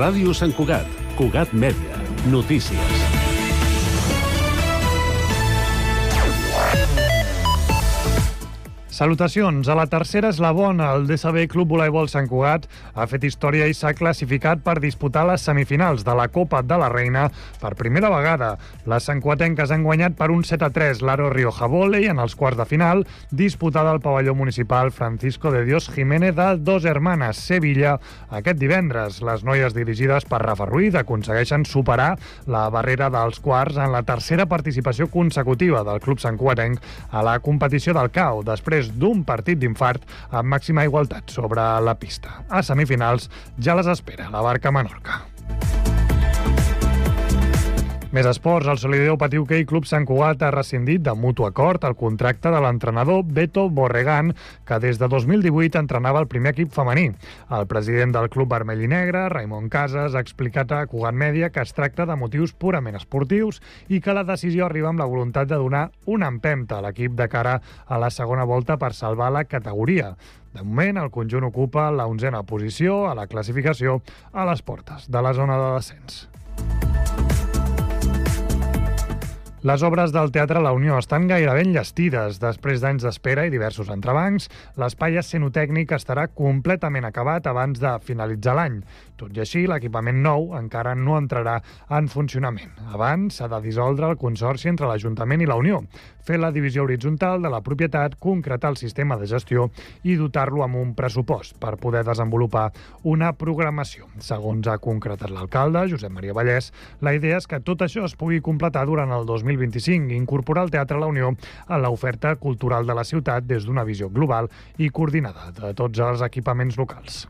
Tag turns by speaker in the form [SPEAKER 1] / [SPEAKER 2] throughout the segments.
[SPEAKER 1] Ràdio Sant Cugat, Cugat Mèdia, notícies.
[SPEAKER 2] Salutacions. A la tercera és la bona. El DSB Club Voleibol Sant Cugat ha fet història i s'ha classificat per disputar les semifinals de la Copa de la Reina per primera vegada. Les santcuatenques han guanyat per un 7 a 3 l'Aro Rioja Volley en els quarts de final, disputada al pavelló municipal Francisco de Dios Jiménez de Dos Hermanes, Sevilla, aquest divendres. Les noies dirigides per Rafa Ruiz aconsegueixen superar la barrera dels quarts en la tercera participació consecutiva del Club Sant Cuatenc a la competició del CAO, després d'un partit d'infart amb màxima igualtat sobre la pista. A semifinals ja les espera la barca Menorca. Més esports, el Solideu Patiu Hockey Club Sant Cugat ha rescindit de mutu acord el contracte de l'entrenador Beto Borregan, que des de 2018 entrenava el primer equip femení. El president del club vermell i negre, Raimon Casas, ha explicat a Cugat Mèdia que es tracta de motius purament esportius i que la decisió arriba amb la voluntat de donar una empenta a l'equip de cara a la segona volta per salvar la categoria. De moment, el conjunt ocupa la onzena posició a la classificació a les portes de la zona de descens. Les obres del Teatre La Unió estan gairebé enllestides. Després d'anys d'espera i diversos entrebancs, l'espai escenotècnic estarà completament acabat abans de finalitzar l'any. Tot i així, l'equipament nou encara no entrarà en funcionament. Abans s'ha de dissoldre el consorci entre l'Ajuntament i la Unió, fer la divisió horitzontal de la propietat, concretar el sistema de gestió i dotar-lo amb un pressupost per poder desenvolupar una programació. Segons ha concretat l'alcalde, Josep Maria Vallès, la idea és que tot això es pugui completar durant el 2020 2025 i incorporar el Teatre a la Unió a l'oferta cultural de la ciutat des d'una visió global i coordinada de tots els equipaments locals.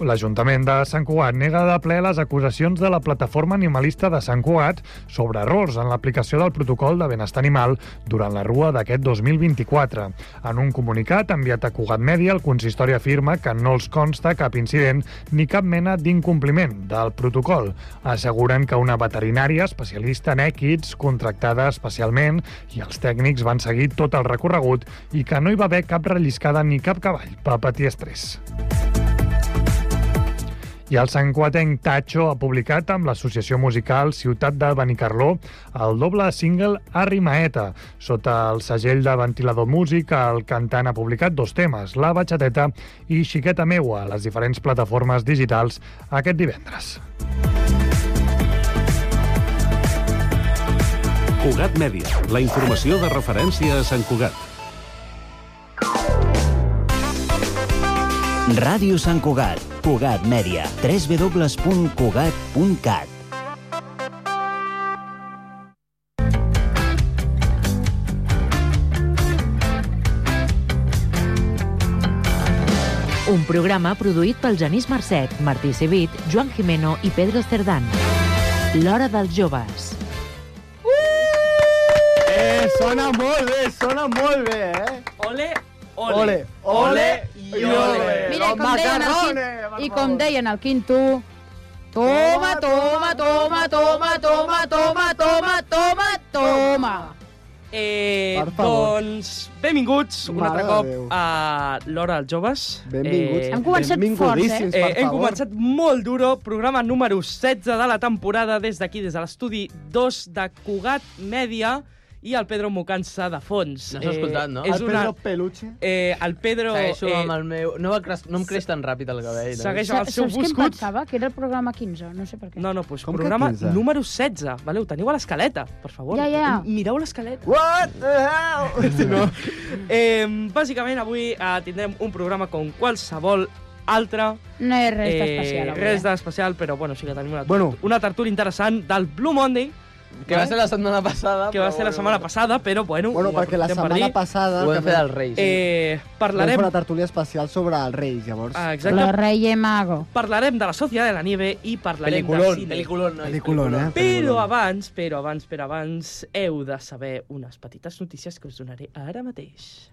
[SPEAKER 2] L'Ajuntament de Sant Cugat nega de ple les acusacions de la plataforma animalista de Sant Cugat sobre errors en l'aplicació del protocol de benestar animal durant la rua d'aquest 2024. En un comunicat enviat a Cugat Mèdia, el consistori afirma que no els consta cap incident ni cap mena d'incompliment del protocol. Asseguren que una veterinària especialista en èquids contractada especialment i els tècnics van seguir tot el recorregut i que no hi va haver cap relliscada ni cap cavall per patir estrès. I el santcuatenc Tacho ha publicat amb l'associació musical Ciutat de Benicarló el doble single Arrimaeta. Sota el segell de Ventilador Músic, el cantant ha publicat dos temes, La Batxateta i Xiqueta Meua, a les diferents plataformes digitals aquest divendres.
[SPEAKER 1] Cugat Mèdia, la informació de referència a Sant Cugat.
[SPEAKER 3] Ràdio Sant Cugat, Cugat Mèdia, www.cugat.cat.
[SPEAKER 4] Un programa produït pel Genís Marcet, Martí Civit, Joan Jimeno i Pedro Cerdán. L'hora dels joves.
[SPEAKER 5] Eh, sona molt bé, sona molt bé, eh?
[SPEAKER 6] Ole, ole.
[SPEAKER 5] Ole, ole i ole.
[SPEAKER 7] Mira, i
[SPEAKER 5] Los
[SPEAKER 7] com deien el,
[SPEAKER 5] macarrones,
[SPEAKER 7] quin...
[SPEAKER 5] per
[SPEAKER 7] I com
[SPEAKER 5] favor.
[SPEAKER 7] deien el quinto... Toma, toma, toma, toma, toma, toma, toma, toma, toma.
[SPEAKER 6] Eh,
[SPEAKER 5] Per favor.
[SPEAKER 6] doncs, benvinguts un
[SPEAKER 5] Mare
[SPEAKER 6] altre
[SPEAKER 5] de
[SPEAKER 6] cop
[SPEAKER 5] Déu.
[SPEAKER 6] a l'Hora dels Joves.
[SPEAKER 5] Benvinguts.
[SPEAKER 7] Hem començat
[SPEAKER 5] Benvingudíssims,
[SPEAKER 7] forts,
[SPEAKER 6] Eh,
[SPEAKER 5] per
[SPEAKER 6] hem
[SPEAKER 5] favor.
[SPEAKER 6] començat molt duro, programa número 16 de la temporada, des d'aquí, des de l'estudi 2 de Cugat Mèdia i el Pedro Mocança de fons. Eh,
[SPEAKER 8] No s'ha escoltat, no?
[SPEAKER 6] És
[SPEAKER 5] El
[SPEAKER 6] una,
[SPEAKER 5] Pedro Peluche.
[SPEAKER 6] eh, el Pedro...
[SPEAKER 8] Segueixo
[SPEAKER 6] eh,
[SPEAKER 8] amb el meu... No, va cres... no em creix tan ràpid el cabell. eh? no?
[SPEAKER 6] Segueix amb el
[SPEAKER 7] Saps
[SPEAKER 6] seu
[SPEAKER 7] què em
[SPEAKER 6] buscut.
[SPEAKER 7] pensava? Que era el programa 15, no sé per què.
[SPEAKER 6] No, no, doncs
[SPEAKER 5] Com que eh?
[SPEAKER 6] programa
[SPEAKER 5] 15?
[SPEAKER 6] número 16. Vale, ho teniu a l'escaleta, per favor.
[SPEAKER 7] Ja, ja.
[SPEAKER 6] Mireu l'escaleta.
[SPEAKER 5] What the hell? Si no...
[SPEAKER 6] Eh, bàsicament, avui eh, tindrem un programa com qualsevol altre.
[SPEAKER 7] No hi ha res d'especial. avui,
[SPEAKER 6] res
[SPEAKER 7] eh?
[SPEAKER 6] d'especial, però bueno, sí que tenim una,
[SPEAKER 5] Bueno.
[SPEAKER 6] una tertúlia interessant del Blue Monday,
[SPEAKER 8] Que va ser la setmana passada.
[SPEAKER 6] que va
[SPEAKER 8] però
[SPEAKER 6] ser la
[SPEAKER 8] bueno.
[SPEAKER 6] setmana passada, però bueno...
[SPEAKER 9] Bueno,
[SPEAKER 6] ho
[SPEAKER 9] perquè la
[SPEAKER 6] aprofitem per
[SPEAKER 9] setmana
[SPEAKER 6] dir.
[SPEAKER 9] passada
[SPEAKER 8] Ho vam fer
[SPEAKER 9] vam-
[SPEAKER 8] dels Reis. Eh...
[SPEAKER 6] Eh,
[SPEAKER 9] vam fer
[SPEAKER 6] parlarem...
[SPEAKER 9] una tertúlia especial sobre els Reis, llavors.
[SPEAKER 6] Ah,
[SPEAKER 10] eh.
[SPEAKER 6] exacte,
[SPEAKER 7] Lo rey mago.
[SPEAKER 6] parlarem de la Societat de la Nieve i parlarem de
[SPEAKER 8] Peliculón,
[SPEAKER 6] cine. Ah,
[SPEAKER 8] peliculón, nois.
[SPEAKER 9] Peliculón, eh?
[SPEAKER 6] Però abans, però abans, però abans, heu de saber unes petites notícies que us donaré ara mateix.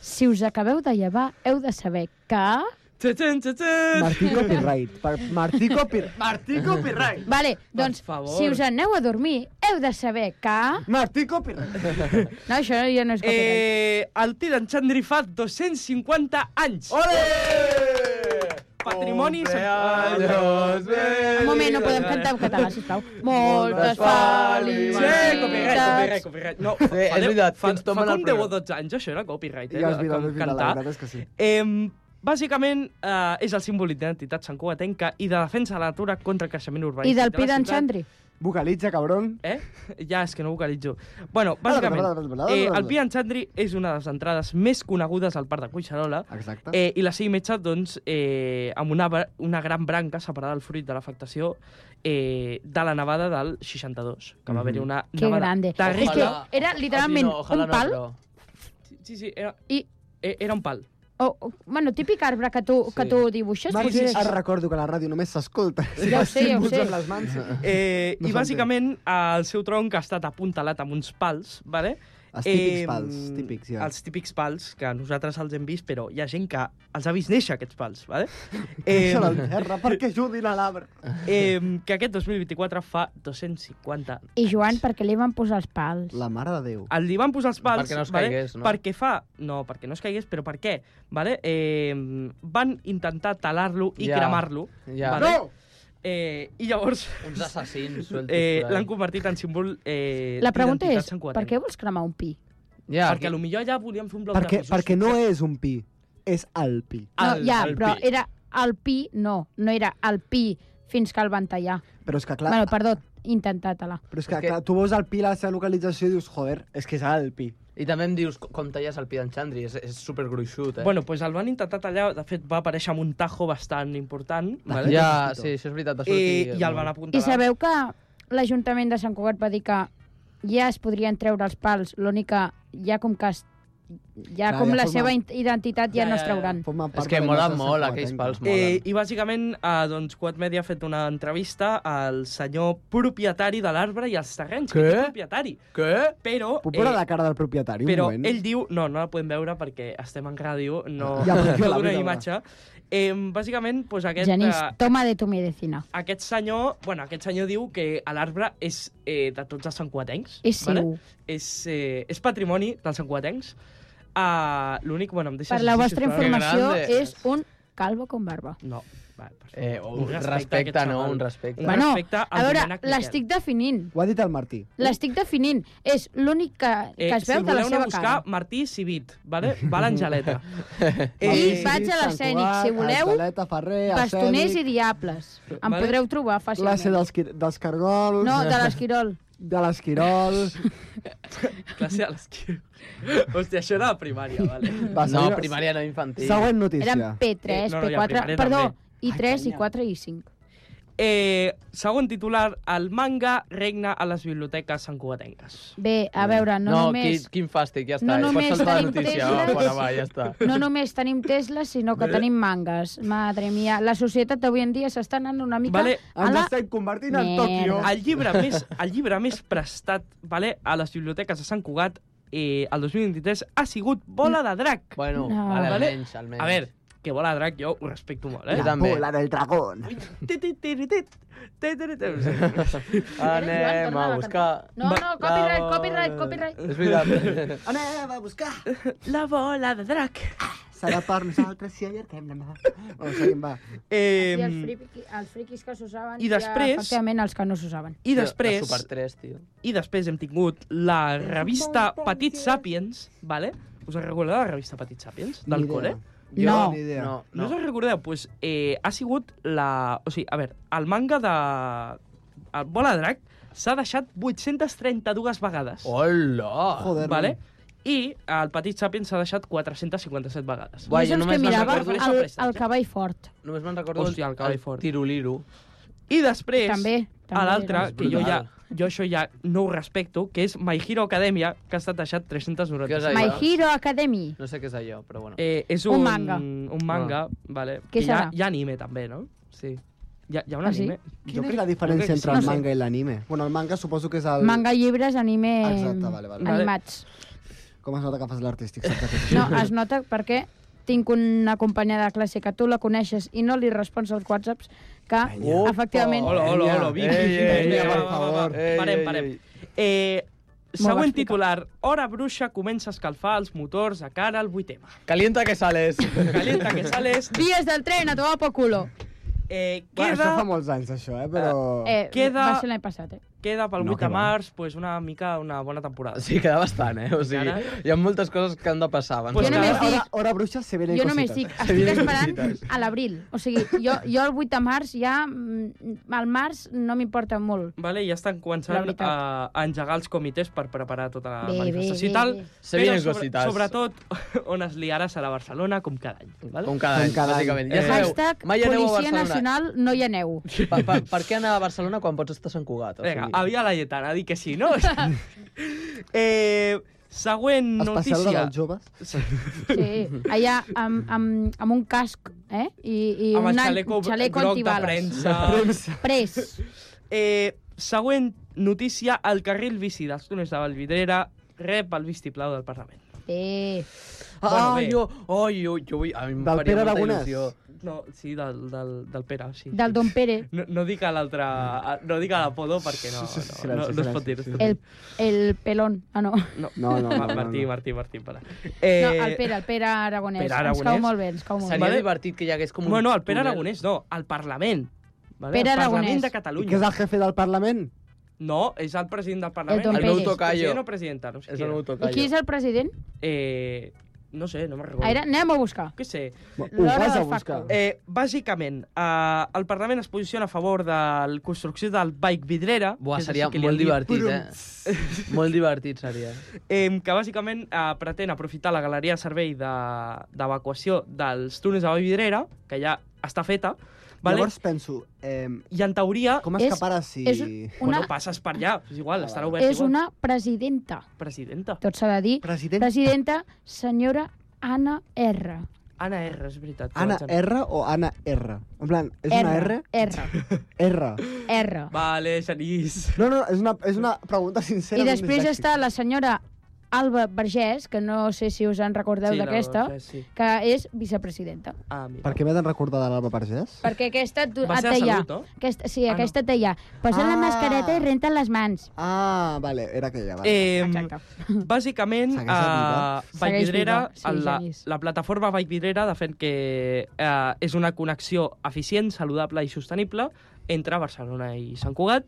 [SPEAKER 7] Si us acabeu de llevar, heu de saber que...
[SPEAKER 6] Txetxen, txetxen.
[SPEAKER 9] Martí Copyright. Per Martí Copyright.
[SPEAKER 5] Martí Copyright.
[SPEAKER 10] Vale,
[SPEAKER 6] Per
[SPEAKER 10] doncs,
[SPEAKER 6] favor.
[SPEAKER 10] si us aneu a dormir, heu de saber que...
[SPEAKER 5] Martí Copyright.
[SPEAKER 10] No, això ja no és copyright.
[SPEAKER 6] Eh, el Titan Chandri fa 250 anys.
[SPEAKER 5] Ole!
[SPEAKER 6] Patrimoni...
[SPEAKER 8] eh. Cumpleaños
[SPEAKER 10] Un moment, no podem
[SPEAKER 8] felices.
[SPEAKER 10] cantar en català, sisplau. Moltes felicitats.
[SPEAKER 6] copyright. No,
[SPEAKER 8] Eh, és veritat,
[SPEAKER 6] fa,
[SPEAKER 8] que ens
[SPEAKER 6] fa
[SPEAKER 8] tomben
[SPEAKER 6] com
[SPEAKER 8] el
[SPEAKER 6] 10 o
[SPEAKER 8] programa.
[SPEAKER 6] 12 anys, això era copyright, eh?
[SPEAKER 9] Ja us
[SPEAKER 6] de-
[SPEAKER 9] mira,
[SPEAKER 6] com
[SPEAKER 9] us mira, la
[SPEAKER 6] cantar.
[SPEAKER 9] veritat és que sí.
[SPEAKER 6] Eh, bàsicament, eh, és el símbol d'identitat santcugatenca i de defensa de la natura contra el creixement urbanístic
[SPEAKER 10] I del
[SPEAKER 6] de la
[SPEAKER 10] Pi d'en
[SPEAKER 6] ciutat.
[SPEAKER 10] Xandri.
[SPEAKER 9] Vocalitza, cabrón.
[SPEAKER 6] Eh? Ja, és que no vocalitzo. Bueno, bàsicament, eh, el Pi Xandri és una de les entrades més conegudes al parc de Cuixarola
[SPEAKER 9] Exacte.
[SPEAKER 6] eh, i la seva imatge, doncs, eh, amb una, bra- una gran branca separada del fruit de l'afectació eh, de la nevada del 62, que va haver-hi
[SPEAKER 9] Mhm.
[SPEAKER 6] una
[SPEAKER 10] Que
[SPEAKER 6] nevada
[SPEAKER 10] grande.
[SPEAKER 6] terrible.
[SPEAKER 10] És que era literalment
[SPEAKER 8] Ojalà no, ojalà
[SPEAKER 10] un pal.
[SPEAKER 8] No,
[SPEAKER 6] Sí, sí, era,
[SPEAKER 10] I-
[SPEAKER 6] eh, era un pal.
[SPEAKER 10] O, o, bueno, típic arbre que tu, que
[SPEAKER 8] Sí.
[SPEAKER 10] tu dibuixes.
[SPEAKER 9] Martí,
[SPEAKER 10] Sí, sí, sí.
[SPEAKER 9] et recordo que la ràdio només s'escolta.
[SPEAKER 10] Ja ho sé, ja ho
[SPEAKER 9] Símbols
[SPEAKER 10] sé.
[SPEAKER 9] amb les mans.
[SPEAKER 6] Eh,
[SPEAKER 9] No
[SPEAKER 6] I
[SPEAKER 9] s'entén.
[SPEAKER 6] bàsicament el seu tronc ha estat apuntalat amb uns pals, vale?
[SPEAKER 9] Els
[SPEAKER 6] Eh,
[SPEAKER 9] típics pals, típics, ja.
[SPEAKER 6] Els típics pals, que nosaltres els hem vist, però hi ha gent que els ha vist néixer, aquests pals, vale? Eh,
[SPEAKER 9] Deixa la terra perquè ajudin a l'arbre.
[SPEAKER 6] eh, que aquest 2024 fa 250
[SPEAKER 10] I Joan, perquè li van posar els pals.
[SPEAKER 9] La mare de
[SPEAKER 10] Ah,
[SPEAKER 9] Déu.
[SPEAKER 6] El li van posar els pals...
[SPEAKER 8] Perquè no es
[SPEAKER 6] vale?
[SPEAKER 8] caigués, no?
[SPEAKER 6] Perquè fa... No, perquè no es caigués, però per què? Vale? Eh, van intentar talar-lo i
[SPEAKER 8] Ja.
[SPEAKER 6] cremar-lo.
[SPEAKER 8] Ja.
[SPEAKER 6] Vale? Eh, I llavors
[SPEAKER 8] Uns assassins. sueltos
[SPEAKER 6] eh,
[SPEAKER 8] por ahí.
[SPEAKER 6] l'han convertit en símbol eh,
[SPEAKER 10] La pregunta
[SPEAKER 6] d'identitat
[SPEAKER 10] és, per
[SPEAKER 6] sancoherent.
[SPEAKER 10] què vols cremar un pi?
[SPEAKER 8] Ja,
[SPEAKER 6] Perquè a lo millor allà volíem fer un bloc
[SPEAKER 9] Perquè,
[SPEAKER 6] de pisos.
[SPEAKER 9] perquè no és un pi, és el pi.
[SPEAKER 10] No,
[SPEAKER 6] El-
[SPEAKER 10] ja,
[SPEAKER 6] el
[SPEAKER 10] però
[SPEAKER 6] pi.
[SPEAKER 10] era el pi, no, no era el pi fins que el van tallar.
[SPEAKER 9] Però és que, clar,
[SPEAKER 10] Bueno, perdó, intentar-te-la.
[SPEAKER 9] però és que,
[SPEAKER 8] és que-
[SPEAKER 9] clar tu veus el pi, la seva localització, i dius, joder, és que és el pi.
[SPEAKER 8] I també em dius co- com talles el pi d'en Xandri, és, és supergruixut, eh?
[SPEAKER 6] Bueno, doncs pues el van intentar tallar, de fet va aparèixer amb un tajo bastant important, vale?
[SPEAKER 8] ja, sí, això és veritat, va sortir...
[SPEAKER 6] eh, i el van
[SPEAKER 10] I
[SPEAKER 6] apuntar.
[SPEAKER 10] sabeu que l'Ajuntament de Sant Cugat va dir que ja es podrien treure els pals, l'únic que ja com que es, ja
[SPEAKER 9] Clar,
[SPEAKER 10] com
[SPEAKER 9] ja
[SPEAKER 10] la
[SPEAKER 9] forma-
[SPEAKER 10] seva in- identitat ja,
[SPEAKER 6] Ja,
[SPEAKER 10] no
[SPEAKER 6] ja,
[SPEAKER 10] es
[SPEAKER 6] ja.
[SPEAKER 10] trauran.
[SPEAKER 9] Forma
[SPEAKER 8] És
[SPEAKER 9] part
[SPEAKER 8] que
[SPEAKER 9] de la
[SPEAKER 8] mola
[SPEAKER 9] nostra
[SPEAKER 8] molt,
[SPEAKER 9] Santcugatenca.
[SPEAKER 8] aquells pals molen.
[SPEAKER 6] Eh, I bàsicament, eh, doncs, Quad Media ha fet una entrevista al senyor propietari de l'arbre i els terrenys, que
[SPEAKER 9] Què?
[SPEAKER 6] és propietari.
[SPEAKER 8] Què?
[SPEAKER 6] Però, eh,
[SPEAKER 9] Puc
[SPEAKER 10] Eh,
[SPEAKER 9] posar la cara del propietari, un
[SPEAKER 6] però
[SPEAKER 9] moment?
[SPEAKER 6] ell diu... No, no la podem veure perquè estem en ràdio, no,
[SPEAKER 9] Ja,
[SPEAKER 6] no
[SPEAKER 9] però jo la
[SPEAKER 6] dona
[SPEAKER 9] veig,
[SPEAKER 6] imatge. Eh, bàsicament, doncs, aquest...
[SPEAKER 10] Genís,
[SPEAKER 6] eh,
[SPEAKER 10] toma de tu medicina.
[SPEAKER 6] aquest senyor, bueno, aquest senyor diu que l'arbre és eh, de tots els santcuatencs.
[SPEAKER 10] És seu.
[SPEAKER 6] És, eh, és patrimoni dels santcuatencs. Uh, L'únic, bueno, em deixes...
[SPEAKER 10] Per la
[SPEAKER 6] llegir,
[SPEAKER 10] vostra
[SPEAKER 6] sisplau?
[SPEAKER 10] informació,
[SPEAKER 8] grande.
[SPEAKER 10] és un calvo con barba.
[SPEAKER 6] No, va, perfecte.
[SPEAKER 8] Eh, un
[SPEAKER 6] a
[SPEAKER 8] respecte,
[SPEAKER 6] aquest
[SPEAKER 8] no?
[SPEAKER 6] xaval.
[SPEAKER 8] Un respecte.
[SPEAKER 6] Un
[SPEAKER 10] Bueno,
[SPEAKER 6] respecte al
[SPEAKER 10] A veure,
[SPEAKER 6] Domènec Miquel.
[SPEAKER 10] l'estic definint.
[SPEAKER 9] Ho ha dit el Martí.
[SPEAKER 10] L'estic definint. És l'únic que, que es
[SPEAKER 6] Eh, si
[SPEAKER 10] veu
[SPEAKER 6] el
[SPEAKER 10] de la
[SPEAKER 6] voleu anar
[SPEAKER 10] seva
[SPEAKER 6] a buscar,
[SPEAKER 10] cara.
[SPEAKER 6] Martí Civit, vale? va a l'Angeleta.
[SPEAKER 10] I
[SPEAKER 9] Martí,
[SPEAKER 10] vaig a l'escènic,
[SPEAKER 9] Sant
[SPEAKER 10] si
[SPEAKER 9] Cugat,
[SPEAKER 10] voleu,
[SPEAKER 9] Argeleta, Ferrer,
[SPEAKER 10] Bastoners i
[SPEAKER 9] escènic,
[SPEAKER 10] diables. Em
[SPEAKER 6] Vale.
[SPEAKER 10] podreu trobar
[SPEAKER 9] Classe
[SPEAKER 10] fàcilment.
[SPEAKER 9] dels, qui- dels cargols,
[SPEAKER 10] No, de l'Esquirol.
[SPEAKER 9] de l'Esquirol...
[SPEAKER 6] Classe a l'estiu. Hòstia, això era de primària, vale?
[SPEAKER 9] Va,
[SPEAKER 8] No,
[SPEAKER 9] seguim-
[SPEAKER 8] primària no infantil.
[SPEAKER 9] Següent notícia.
[SPEAKER 10] Eren P3,
[SPEAKER 6] Eh, no, no, hi ha
[SPEAKER 10] P4...
[SPEAKER 6] primària
[SPEAKER 10] Perdó,
[SPEAKER 6] també.
[SPEAKER 10] i 3, i 4, i 5.
[SPEAKER 6] Eh, segon titular, el manga regna a les biblioteques santcugatenques.
[SPEAKER 10] Bé, a veure, no,
[SPEAKER 8] no
[SPEAKER 10] només...
[SPEAKER 8] quin, quin fàstic, ja
[SPEAKER 10] no
[SPEAKER 8] està. es
[SPEAKER 10] només
[SPEAKER 8] pot saltar la
[SPEAKER 10] tenim
[SPEAKER 8] notícia,
[SPEAKER 10] Tesla.
[SPEAKER 8] va, fora, va, ja està.
[SPEAKER 10] No només tenim Tesla, sinó que tenim mangas. Madre mia, la societat d'avui en dia s'està anant una mica
[SPEAKER 6] Vale.
[SPEAKER 10] a
[SPEAKER 9] Ens
[SPEAKER 10] la...
[SPEAKER 9] estem convertint en
[SPEAKER 10] Merda.
[SPEAKER 9] Tòquio.
[SPEAKER 10] Ah.
[SPEAKER 6] El llibre més, el llibre més prestat vale, a les biblioteques de Sant Cugat eh, el 2023 ha sigut Bola de Drac.
[SPEAKER 8] Bueno,
[SPEAKER 10] No.
[SPEAKER 8] vale,
[SPEAKER 6] Vale.
[SPEAKER 8] almenys, almenys.
[SPEAKER 6] A veure, que Bola de Drac jo ho respecto molt,
[SPEAKER 8] Jo
[SPEAKER 6] eh?
[SPEAKER 9] La
[SPEAKER 8] també.
[SPEAKER 9] bola del dragón.
[SPEAKER 6] Tit, tit, tit, tit, tit, tit, tit.
[SPEAKER 10] Joan,
[SPEAKER 8] Anem
[SPEAKER 10] torna
[SPEAKER 8] a
[SPEAKER 10] la
[SPEAKER 8] buscar... Ah,
[SPEAKER 10] No, no, copyright, copyright, copyright.
[SPEAKER 8] És veritat.
[SPEAKER 9] Anem a buscar.
[SPEAKER 6] La Bola de Drac.
[SPEAKER 9] Serà per nosaltres si allarguem la mà. Bueno, seguim, va.
[SPEAKER 10] I els,
[SPEAKER 6] Eh,
[SPEAKER 10] friqui, els friquis que s'usaven
[SPEAKER 6] i després-
[SPEAKER 10] efectivament, els que no s'usaven.
[SPEAKER 6] I
[SPEAKER 8] La Super
[SPEAKER 6] després,
[SPEAKER 8] 3, tio.
[SPEAKER 6] i després hem tingut la revista
[SPEAKER 10] eh?
[SPEAKER 6] Petit Sapiens, vale? us en recordeu de la revista Petit Sapiens, del
[SPEAKER 9] Ni idea.
[SPEAKER 6] col·le?
[SPEAKER 9] Jo
[SPEAKER 10] No.
[SPEAKER 9] ni idea.
[SPEAKER 8] No,
[SPEAKER 6] No,
[SPEAKER 8] no.
[SPEAKER 6] us en recordeu? Pues, eh, ha sigut la... O sigui, a veure, el manga de... El Bola de Drac s'ha deixat 832 vegades.
[SPEAKER 8] Oh, Hola!
[SPEAKER 9] Joder,
[SPEAKER 6] vale?
[SPEAKER 9] no.
[SPEAKER 6] I el Petit Sapiens s'ha deixat 457 vegades.
[SPEAKER 8] Guai,
[SPEAKER 10] jo
[SPEAKER 8] jo
[SPEAKER 10] només que
[SPEAKER 8] només me'n
[SPEAKER 10] mirava
[SPEAKER 6] recordo d'això
[SPEAKER 10] el,
[SPEAKER 6] prestat,
[SPEAKER 10] el
[SPEAKER 6] eh?
[SPEAKER 10] cavall fort.
[SPEAKER 8] Només me'n recordo
[SPEAKER 6] Hòstia, el cavall fort.
[SPEAKER 8] Tiroliro.
[SPEAKER 6] I després,
[SPEAKER 10] També.
[SPEAKER 6] a
[SPEAKER 10] també
[SPEAKER 6] l'altre,
[SPEAKER 10] era.
[SPEAKER 6] que jo ja,
[SPEAKER 8] Brutal.
[SPEAKER 6] jo això ja no ho respecto, que és My Hero Academia, que ha estat deixat 390.
[SPEAKER 8] Què és allò?
[SPEAKER 10] My Hero Academy.
[SPEAKER 8] No sé què és allò, però bueno.
[SPEAKER 6] Eh, és
[SPEAKER 10] Un
[SPEAKER 6] un,
[SPEAKER 10] manga.
[SPEAKER 6] Un
[SPEAKER 9] Ah.
[SPEAKER 6] manga, vale.
[SPEAKER 10] Què
[SPEAKER 6] que hi ha,
[SPEAKER 10] serà?
[SPEAKER 6] hi ha anime, també, no? Sí. Hi ha, hi ha un
[SPEAKER 10] Ah, sí?
[SPEAKER 6] anime.
[SPEAKER 9] Quina és la diferència
[SPEAKER 6] crec que
[SPEAKER 9] entre el
[SPEAKER 6] sí. No sé.
[SPEAKER 9] manga i l'anime? Bueno, el manga suposo que és el...
[SPEAKER 10] Manga, llibres, anime...
[SPEAKER 9] Exacte, vale, vale.
[SPEAKER 10] Animats.
[SPEAKER 9] Com es nota que fas l'artístic? saps?
[SPEAKER 10] No, es nota perquè tinc una companya de classe que tu la coneixes i no li respons als whatsapps, que
[SPEAKER 5] Opa!
[SPEAKER 10] efectivament...
[SPEAKER 6] Hola, hola, hola, Vicky.
[SPEAKER 5] Ei, ei,
[SPEAKER 6] Vinga,
[SPEAKER 5] ei,
[SPEAKER 6] va,
[SPEAKER 5] per
[SPEAKER 6] va, va,
[SPEAKER 5] favor.
[SPEAKER 6] va.
[SPEAKER 5] Ei,
[SPEAKER 6] Parem,
[SPEAKER 5] ei,
[SPEAKER 6] parem.
[SPEAKER 5] ei.
[SPEAKER 6] Eh,
[SPEAKER 10] Molt
[SPEAKER 6] següent
[SPEAKER 10] explicat.
[SPEAKER 6] titular. Hora bruixa comença a escalfar els motors a cara al vuitema.
[SPEAKER 5] Calienta que sales.
[SPEAKER 6] Calienta que sales.
[SPEAKER 10] Vies del tren a tomar por culo.
[SPEAKER 6] Eh,
[SPEAKER 9] Va, això fa
[SPEAKER 6] queda,
[SPEAKER 9] molts anys, això, eh? Però...
[SPEAKER 10] Eh,
[SPEAKER 6] Queda-
[SPEAKER 10] Va ser l'any passat, eh?
[SPEAKER 6] queda pel
[SPEAKER 9] No,
[SPEAKER 6] 8 de
[SPEAKER 9] que va.
[SPEAKER 6] març pues, una mica una bona temporada.
[SPEAKER 8] Sí, queda bastant, eh? O sigui,
[SPEAKER 6] Encara?
[SPEAKER 8] hi ha moltes coses que han de passar abans.
[SPEAKER 6] Pues
[SPEAKER 8] de-
[SPEAKER 10] Jo només dic-
[SPEAKER 9] Hora, hora bruixa se vienen
[SPEAKER 10] Jo
[SPEAKER 9] cositas.
[SPEAKER 10] només dic, estic esperant a l'abril. O sigui, jo, jo el 8 de març ja... mm, Al març no m'importa molt.
[SPEAKER 6] Vale, ja estan
[SPEAKER 10] La
[SPEAKER 6] començant
[SPEAKER 10] veritat.
[SPEAKER 6] a, a engegar els comitès per preparar tota la
[SPEAKER 10] Bé, bé,
[SPEAKER 6] manifestació
[SPEAKER 10] bé,
[SPEAKER 6] i tal.
[SPEAKER 10] bé.
[SPEAKER 8] Se
[SPEAKER 6] però
[SPEAKER 8] vienen cositas.
[SPEAKER 6] Sobretot, on es liarà serà Barcelona, com cada any. Vale?
[SPEAKER 8] Com cada
[SPEAKER 9] Com
[SPEAKER 8] any,
[SPEAKER 9] cada any.
[SPEAKER 8] bàsicament.
[SPEAKER 9] Eh,
[SPEAKER 8] Ja sabeu,
[SPEAKER 10] Hashtag
[SPEAKER 8] mai aneu a
[SPEAKER 10] Policia
[SPEAKER 8] Barcelona.
[SPEAKER 10] Nacional no hi aneu.
[SPEAKER 8] Per, per, per què anar a Barcelona quan pots estar a Sant Cugat? O
[SPEAKER 6] Vinga,
[SPEAKER 8] sigui,
[SPEAKER 6] havia la lletana, di que sí, no? eh, següent
[SPEAKER 9] Especial
[SPEAKER 6] notícia.
[SPEAKER 9] dels joves.
[SPEAKER 10] Sí, allà amb, amb, amb un casc, eh? I, i
[SPEAKER 6] amb el
[SPEAKER 10] una-
[SPEAKER 6] xaleco,
[SPEAKER 10] xaleco
[SPEAKER 6] groc de
[SPEAKER 10] antibales.
[SPEAKER 6] premsa.
[SPEAKER 10] Pres.
[SPEAKER 6] eh, següent notícia, el carril bici dels túnels de Vallvidrera rep el vistiplau del Parlament.
[SPEAKER 10] Bé.
[SPEAKER 8] Ah,
[SPEAKER 6] Bueno, bé.
[SPEAKER 8] jo, oh, jo, jo vull... A mi em
[SPEAKER 9] Del
[SPEAKER 8] faria
[SPEAKER 9] Pere
[SPEAKER 8] molta
[SPEAKER 9] Aragonès.
[SPEAKER 8] il·lusió.
[SPEAKER 6] No, sí, del, del, del Pere, sí.
[SPEAKER 10] Del Don Pere.
[SPEAKER 6] No, no dic a l'altre... a- No dic a l'apodo perquè no,
[SPEAKER 9] Sí, sí,
[SPEAKER 6] no,
[SPEAKER 9] sí,
[SPEAKER 6] no,
[SPEAKER 9] silenci,
[SPEAKER 6] no es pot dir.
[SPEAKER 9] silenci,
[SPEAKER 6] es pot
[SPEAKER 10] El, el pelón. Ah, no.
[SPEAKER 6] dir. No.
[SPEAKER 9] No, no, no,
[SPEAKER 6] Ma-
[SPEAKER 9] no,
[SPEAKER 6] Martí,
[SPEAKER 9] no.
[SPEAKER 6] Martí, Martí, para.
[SPEAKER 10] No, el Pere, el Pere Aragonès.
[SPEAKER 6] Eh, Pere
[SPEAKER 10] Ens cau
[SPEAKER 6] Aragonès.
[SPEAKER 10] molt bé, ens cau molt
[SPEAKER 8] Seria
[SPEAKER 10] bé.
[SPEAKER 6] Vale.
[SPEAKER 8] divertit que hi hagués com un...
[SPEAKER 6] Bueno, el Pere
[SPEAKER 8] túnel.
[SPEAKER 6] Aragonès, no, al Parlament. Vale?
[SPEAKER 10] Pere
[SPEAKER 6] el Parlament
[SPEAKER 10] Aragonès.
[SPEAKER 6] de
[SPEAKER 9] I que
[SPEAKER 6] Catalunya.
[SPEAKER 9] és el jefe del Parlament?
[SPEAKER 6] No, és el president del
[SPEAKER 10] El
[SPEAKER 6] Parlament.
[SPEAKER 10] Don
[SPEAKER 8] El meu
[SPEAKER 10] Pérez.
[SPEAKER 8] tocayo.
[SPEAKER 6] President o presidenta, no sé
[SPEAKER 8] És
[SPEAKER 6] qui
[SPEAKER 8] el
[SPEAKER 6] era.
[SPEAKER 8] meu
[SPEAKER 10] I
[SPEAKER 8] tocayo.
[SPEAKER 10] qui és el president?
[SPEAKER 6] Eh, no sé, no me'n recordo.
[SPEAKER 10] Ah, era... Anem a buscar.
[SPEAKER 6] Què sé.
[SPEAKER 9] Ho
[SPEAKER 10] L'hora
[SPEAKER 9] vas a
[SPEAKER 10] del
[SPEAKER 9] buscar.
[SPEAKER 10] Paco.
[SPEAKER 6] Eh, bàsicament, eh, el Parlament es posiciona a favor de la construcció del bike vidrera.
[SPEAKER 8] Buah,
[SPEAKER 6] que és
[SPEAKER 8] seria
[SPEAKER 6] així que li
[SPEAKER 8] molt
[SPEAKER 6] han dit,
[SPEAKER 8] divertit, eh? molt divertit seria.
[SPEAKER 6] Eh, que bàsicament eh, pretén aprofitar la galeria de servei de- d'evacuació de, dels túnels de Vall Vidrera, que ja està feta, vale?
[SPEAKER 9] Llavors penso, eh,
[SPEAKER 6] i en teoria, Com...
[SPEAKER 9] com
[SPEAKER 10] És-
[SPEAKER 9] escaparàs si...
[SPEAKER 10] És
[SPEAKER 6] una...
[SPEAKER 10] una,
[SPEAKER 6] bueno, passes per allà, és
[SPEAKER 8] Ah,
[SPEAKER 6] igual, estarà obert
[SPEAKER 10] és
[SPEAKER 6] igual.
[SPEAKER 10] una presidenta.
[SPEAKER 6] Presidenta.
[SPEAKER 10] Tot s'ha de dir.
[SPEAKER 9] President
[SPEAKER 10] Presidenta, senyora Anna R.
[SPEAKER 6] Anna R, és veritat. que
[SPEAKER 9] Anna
[SPEAKER 6] vaig anar.
[SPEAKER 9] R o Anna R? En plan, és una R?
[SPEAKER 10] R.
[SPEAKER 9] R.
[SPEAKER 10] R.
[SPEAKER 6] Vale, Genís.
[SPEAKER 9] No, no, és una, és una pregunta sincera.
[SPEAKER 10] I
[SPEAKER 9] d'un
[SPEAKER 10] després
[SPEAKER 9] dislèxic.
[SPEAKER 10] està la senyora Alba Vergés, que no sé si us en recordeu
[SPEAKER 6] la
[SPEAKER 10] d'aquesta,
[SPEAKER 6] Dolores, Sí.
[SPEAKER 10] que és vicepresidenta.
[SPEAKER 6] Ah, mira.
[SPEAKER 9] Per què m'he de recordar de l'Alba Vergés?
[SPEAKER 10] Perquè aquesta et
[SPEAKER 6] Va
[SPEAKER 10] et
[SPEAKER 6] ser de
[SPEAKER 10] deia...
[SPEAKER 6] salut, no?
[SPEAKER 10] Aquesta, sí,
[SPEAKER 6] Ah, no.
[SPEAKER 10] aquesta et deia, posa la
[SPEAKER 9] Ah.
[SPEAKER 10] mascareta i renta les mans.
[SPEAKER 9] Ah, vale, era aquella. Vale.
[SPEAKER 6] Eh,
[SPEAKER 10] Exacte.
[SPEAKER 6] Bàsicament,
[SPEAKER 9] Segueix
[SPEAKER 6] a
[SPEAKER 9] viva.
[SPEAKER 10] Segueix
[SPEAKER 6] Vallvidrera,
[SPEAKER 10] viva, sí,
[SPEAKER 6] sí, la,
[SPEAKER 10] Genís.
[SPEAKER 6] la plataforma Vallvidrera defèn que eh, és una connexió eficient, saludable i sostenible entre Barcelona i Sant Cugat.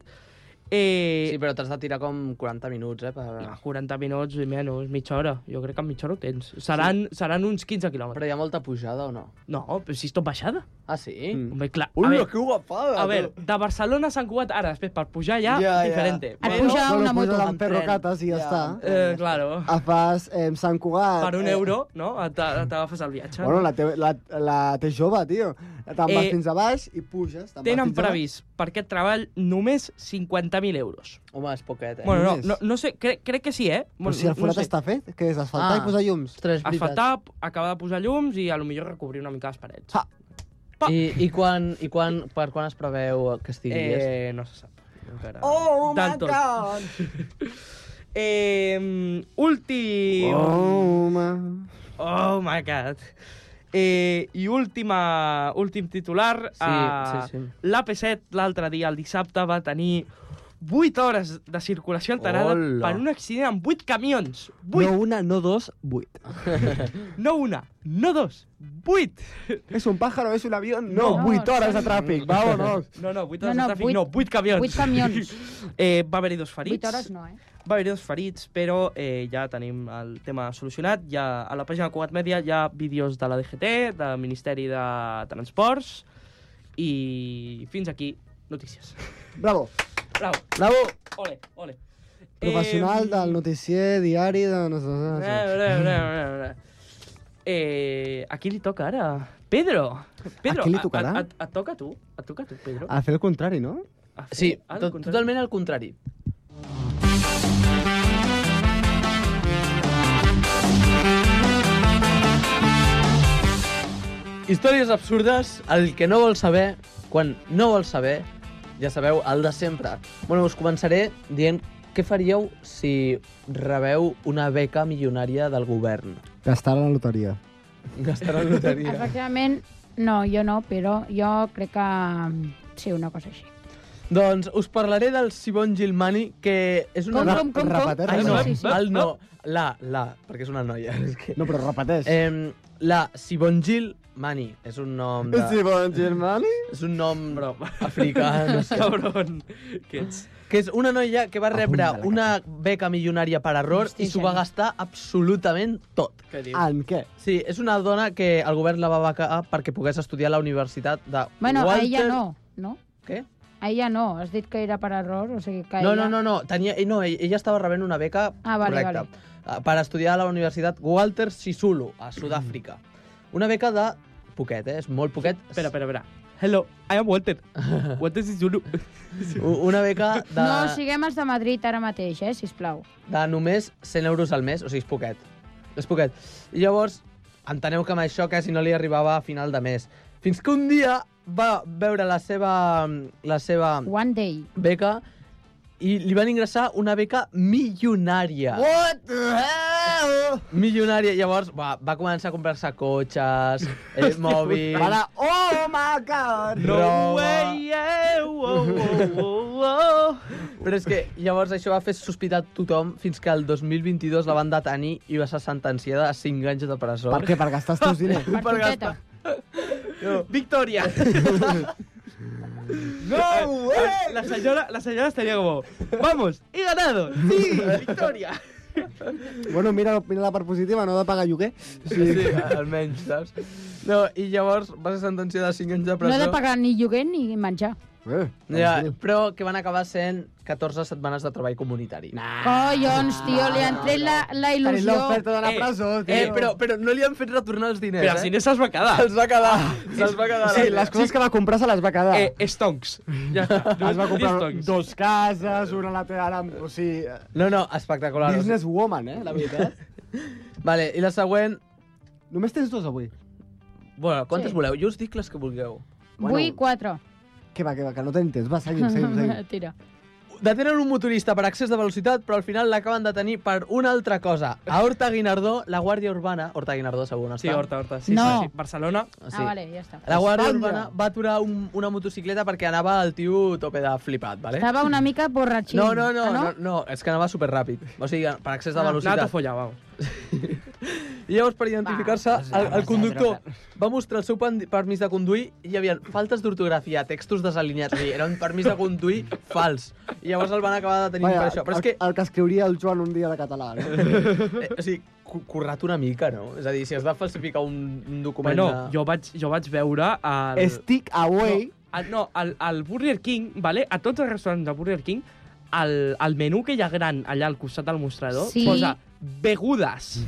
[SPEAKER 6] Eh,
[SPEAKER 8] Sí, però t'has de tirar com 40 minuts, eh? Per...
[SPEAKER 6] no, 40 minuts i menys, mitja hora. Jo crec que en mitja hora ho tens. Seran, sí. seran uns 15 quilòmetres.
[SPEAKER 8] Però hi ha molta pujada o no?
[SPEAKER 6] No, però si és tot baixada.
[SPEAKER 8] Ah, sí?
[SPEAKER 9] Mm.
[SPEAKER 6] Home, clar, a,
[SPEAKER 8] Ui,
[SPEAKER 6] veure,
[SPEAKER 8] que guapada!
[SPEAKER 6] a veure, de Barcelona a Sant Cugat, ara, després, per pujar ja,
[SPEAKER 8] Ja,
[SPEAKER 6] ja,
[SPEAKER 8] ja.
[SPEAKER 6] diferente.
[SPEAKER 10] Et
[SPEAKER 6] Però,
[SPEAKER 10] puja una moto.
[SPEAKER 9] Bueno, pues
[SPEAKER 8] tren.
[SPEAKER 9] rocates i ja,
[SPEAKER 8] Ja.
[SPEAKER 9] està.
[SPEAKER 6] eh, claro,
[SPEAKER 9] Et fas eh, Sant Cugat...
[SPEAKER 6] per un
[SPEAKER 9] eh,
[SPEAKER 6] euro, no?, Et- t'agafes el viatge.
[SPEAKER 9] Bueno, la té, la, la té jove, tio. Te'n vas
[SPEAKER 6] Eh,
[SPEAKER 9] fins a baix i puges. te'n vas
[SPEAKER 6] Tenen
[SPEAKER 9] fins a baix.
[SPEAKER 6] previst per aquest treball només 50.000 euros.
[SPEAKER 8] Home, és poquet, eh?
[SPEAKER 6] Bueno, no,
[SPEAKER 9] Només?
[SPEAKER 6] no, no sé, crec, crec que sí, eh?
[SPEAKER 9] Però
[SPEAKER 6] Bueno,
[SPEAKER 9] si el
[SPEAKER 6] no
[SPEAKER 9] forat
[SPEAKER 6] sé.
[SPEAKER 9] està fet, què és? Asfaltar
[SPEAKER 8] Ah.
[SPEAKER 9] i posar llums?
[SPEAKER 8] Ostres, és veritat.
[SPEAKER 6] Asfaltar, acabar de posar llums i a lo millor recobrir una mica les parets.
[SPEAKER 9] Ah,
[SPEAKER 6] Pa.
[SPEAKER 8] I, i, quan, I quan, per quan es preveu que estigui llest?
[SPEAKER 6] Eh, no se sap. Encara... Oh, my God! eh, últim...
[SPEAKER 9] Oh, home.
[SPEAKER 6] Oh my god. Eh, I última, últim titular.
[SPEAKER 8] Sí,
[SPEAKER 6] eh,
[SPEAKER 8] sí, sí.
[SPEAKER 6] L'AP7 l'altre dia, el dissabte, va tenir 8 hores de circulació alterada
[SPEAKER 8] Hola.
[SPEAKER 6] per un accident amb 8 camions. 8,
[SPEAKER 9] No una, no dos, vuit.
[SPEAKER 6] no, no una, no dos, 8.
[SPEAKER 9] És un pájaro, és un avió? No,
[SPEAKER 10] No,
[SPEAKER 9] vuit
[SPEAKER 10] no,
[SPEAKER 9] hores
[SPEAKER 10] són-
[SPEAKER 9] de tràfic, vámonos.
[SPEAKER 6] No, no, 8
[SPEAKER 10] No,
[SPEAKER 6] hores
[SPEAKER 10] no,
[SPEAKER 6] de tràfic,
[SPEAKER 10] vuit-
[SPEAKER 6] no, 8 camions.
[SPEAKER 10] vuit camions.
[SPEAKER 6] eh, va haver-hi dos ferits.
[SPEAKER 10] 8 hores no, eh?
[SPEAKER 6] Va haver-hi dos ferits, però eh, ja tenim el tema solucionat. Ja, a la pàgina de Cugat Mèdia hi ha vídeos de la DGT, del Ministeri de Transports, i fins aquí notícies.
[SPEAKER 9] Bravo,
[SPEAKER 6] Bravo,
[SPEAKER 9] bravo.
[SPEAKER 6] ole, ole.
[SPEAKER 9] Professional del noticier diari de... No sé, no
[SPEAKER 6] Eh,
[SPEAKER 9] sé.
[SPEAKER 6] eh, eh, eh, eh. Eh, a qui li toca ara? Pedro! Pedro,
[SPEAKER 9] A qui li Ah, tocarà?
[SPEAKER 6] A, a, et toca a tu, et toca a tu, Pedro.
[SPEAKER 9] A fer el contrari, no?
[SPEAKER 6] A fer
[SPEAKER 8] Sí,
[SPEAKER 6] el
[SPEAKER 8] to
[SPEAKER 6] contrari.
[SPEAKER 8] totalment Eh, al contrari. Històries absurdes, el que no vols saber, quan no vols saber, ja sabeu, el de sempre. Bueno, us començaré dient què faríeu si rebeu una beca milionària del govern.
[SPEAKER 9] Gastar a la loteria.
[SPEAKER 8] Gastar en loteria.
[SPEAKER 10] Efectivament, no, jo no, però jo crec que mm, sí, una cosa així.
[SPEAKER 8] doncs us parlaré del Sibon Gilmani, que és una...
[SPEAKER 10] Com, com, com, com?
[SPEAKER 5] Repeteix,
[SPEAKER 8] Ai, no,
[SPEAKER 10] Sí, sí, sí.
[SPEAKER 8] val, no. La, la, perquè és una noia. És que...
[SPEAKER 5] No, però repeteix.
[SPEAKER 8] Eh, la Sibongil Mani. És un nom de...
[SPEAKER 5] Sí, bon germani.
[SPEAKER 8] És un nom
[SPEAKER 6] Bro.
[SPEAKER 8] africà, no sé.
[SPEAKER 6] Cabron, que ets...
[SPEAKER 8] Que és una noia que va rebre
[SPEAKER 5] Apunta-la,
[SPEAKER 8] una beca milionària per error i s'ho va gastar absolutament tot.
[SPEAKER 6] Què dius?
[SPEAKER 5] En què?
[SPEAKER 8] Sí, és una dona que el govern la va becar perquè pogués estudiar a la universitat de
[SPEAKER 10] Bueno, a
[SPEAKER 8] Walter...
[SPEAKER 10] ella no, no?
[SPEAKER 8] Què?
[SPEAKER 10] A ella no, has dit que era per error, o sigui que
[SPEAKER 8] No,
[SPEAKER 10] ella...
[SPEAKER 8] no, no, no. Tenia, eh, no ell- ella estava rebent una beca
[SPEAKER 10] Ah, vale,
[SPEAKER 8] correcta
[SPEAKER 10] vale.
[SPEAKER 8] eh, per estudiar a la Universitat Walter Sisulu, a Sud-àfrica. Una beca de poquet, eh? És molt poquet.
[SPEAKER 6] Espera, espera, espera. Hello, I am Walter. Walter is Zulu.
[SPEAKER 8] U- Una beca de,
[SPEAKER 10] No siguem els de Madrid ara mateix, eh, sisplau.
[SPEAKER 8] de només 100 euros al mes, o sigui, és poquet. És poquet. I llavors, enteneu que amb això quasi no li arribava a final de mes. Fins que un dia va veure la seva, la seva
[SPEAKER 10] One day.
[SPEAKER 8] beca i li van ingressar una beca milionària.
[SPEAKER 5] What the hell?
[SPEAKER 8] Milionària. Llavors va, va començar a comprar-se cotxes, eh, mòbils...
[SPEAKER 5] Para, oh my god.
[SPEAKER 8] No
[SPEAKER 6] No
[SPEAKER 8] Roma.
[SPEAKER 6] way, yeah, wow, wow, wow, wow.
[SPEAKER 8] Però és que llavors això va fer sospitar tothom fins que el 2022 la van detenir i va ser sentenciada a 5 anys de presó.
[SPEAKER 5] Per què? Per gastar els teus diners?
[SPEAKER 10] Per Toteta.
[SPEAKER 6] Victòria.
[SPEAKER 5] No way!
[SPEAKER 6] La senyora, la senyora estaria como, vamos, he ganado, sí, victòria.
[SPEAKER 5] Bueno, mira, mira la part positiva, no ha de pagar lloguer.
[SPEAKER 8] Sí, sí, almenys, saps? No, i llavors va ser sentenciada a 5 anys de
[SPEAKER 10] No
[SPEAKER 8] presó.
[SPEAKER 10] he de pagar ni lloguer ni menjar.
[SPEAKER 5] Eh,
[SPEAKER 8] Ja, però que van acabar sent 14 setmanes de treball comunitari. Nah.
[SPEAKER 10] Collons,
[SPEAKER 8] Ah,
[SPEAKER 10] tio, li han tret la, la
[SPEAKER 5] Tenim
[SPEAKER 10] il·lusió.
[SPEAKER 5] l'oferta de la
[SPEAKER 6] Eh,
[SPEAKER 5] presó, tio.
[SPEAKER 8] Eh, però, però no li han fet retornar els diners,
[SPEAKER 6] Però
[SPEAKER 8] eh?
[SPEAKER 6] si no se'ls va quedar.
[SPEAKER 8] Se'ls va quedar. Ah, Se'ls va quedar.
[SPEAKER 5] Sí, les coses que va comprar se les va quedar.
[SPEAKER 6] Eh, stonks. Ja està.
[SPEAKER 5] es va comprar
[SPEAKER 6] Stonks.
[SPEAKER 5] dos cases, una a la teva... ara amb- O sigui, eh,
[SPEAKER 8] No, no, espectacular.
[SPEAKER 5] business woman, eh, la veritat.
[SPEAKER 8] Vale, i la següent...
[SPEAKER 5] Només tens dos avui.
[SPEAKER 8] Bueno, quantes
[SPEAKER 10] Sí.
[SPEAKER 8] voleu? Jo us dic les que vulgueu.
[SPEAKER 10] Vull quatre.
[SPEAKER 5] Que va, que va, que no tenim temps. Va, seguim, seguim, seguim.
[SPEAKER 10] Tira.
[SPEAKER 8] Detenen un motorista per excés de velocitat, però al final l'acaben de tenir per una altra cosa. A Horta Guinardó, la Guàrdia Urbana... Horta Guinardó, segur on està.
[SPEAKER 6] Sí, Horta, Horta. Sí,
[SPEAKER 10] No.
[SPEAKER 6] sí, sí. Barcelona.
[SPEAKER 8] Ah,
[SPEAKER 10] Ah, vale, ja està.
[SPEAKER 8] La Guàrdia
[SPEAKER 5] Espanya.
[SPEAKER 8] Urbana va aturar un, una motocicleta perquè anava el tio tope de flipat, vale?
[SPEAKER 10] Estava una mica borratxín.
[SPEAKER 8] eh? No, no, no,
[SPEAKER 10] Ah,
[SPEAKER 8] no, no, és que anava superràpid. O sigui, per accés de
[SPEAKER 6] Nato
[SPEAKER 8] velocitat.
[SPEAKER 6] follar, vamos.
[SPEAKER 8] I llavors, per identificar-se, el, el conductor va mostrar el seu pen- permís de conduir i hi havia faltes d'ortografia, textos desalineats, o sigui, era un permís de conduir fals. I llavors el van acabar de tenir per això. Però és que,
[SPEAKER 5] el, el que escriuria el Joan un dia de català. No?
[SPEAKER 8] eh, o sigui, cu- currat una mica, no? És a dir, si has de falsificar un, un document...
[SPEAKER 6] Bueno,
[SPEAKER 8] de-
[SPEAKER 6] jo vaig, jo vaig veure el...
[SPEAKER 5] Stick away.
[SPEAKER 6] El, no, al, al Burger King, vale? a tots els restaurants del Burger King, el, el menú que hi ha gran allà al costat del mostrador
[SPEAKER 10] Sí.
[SPEAKER 6] posa begudes.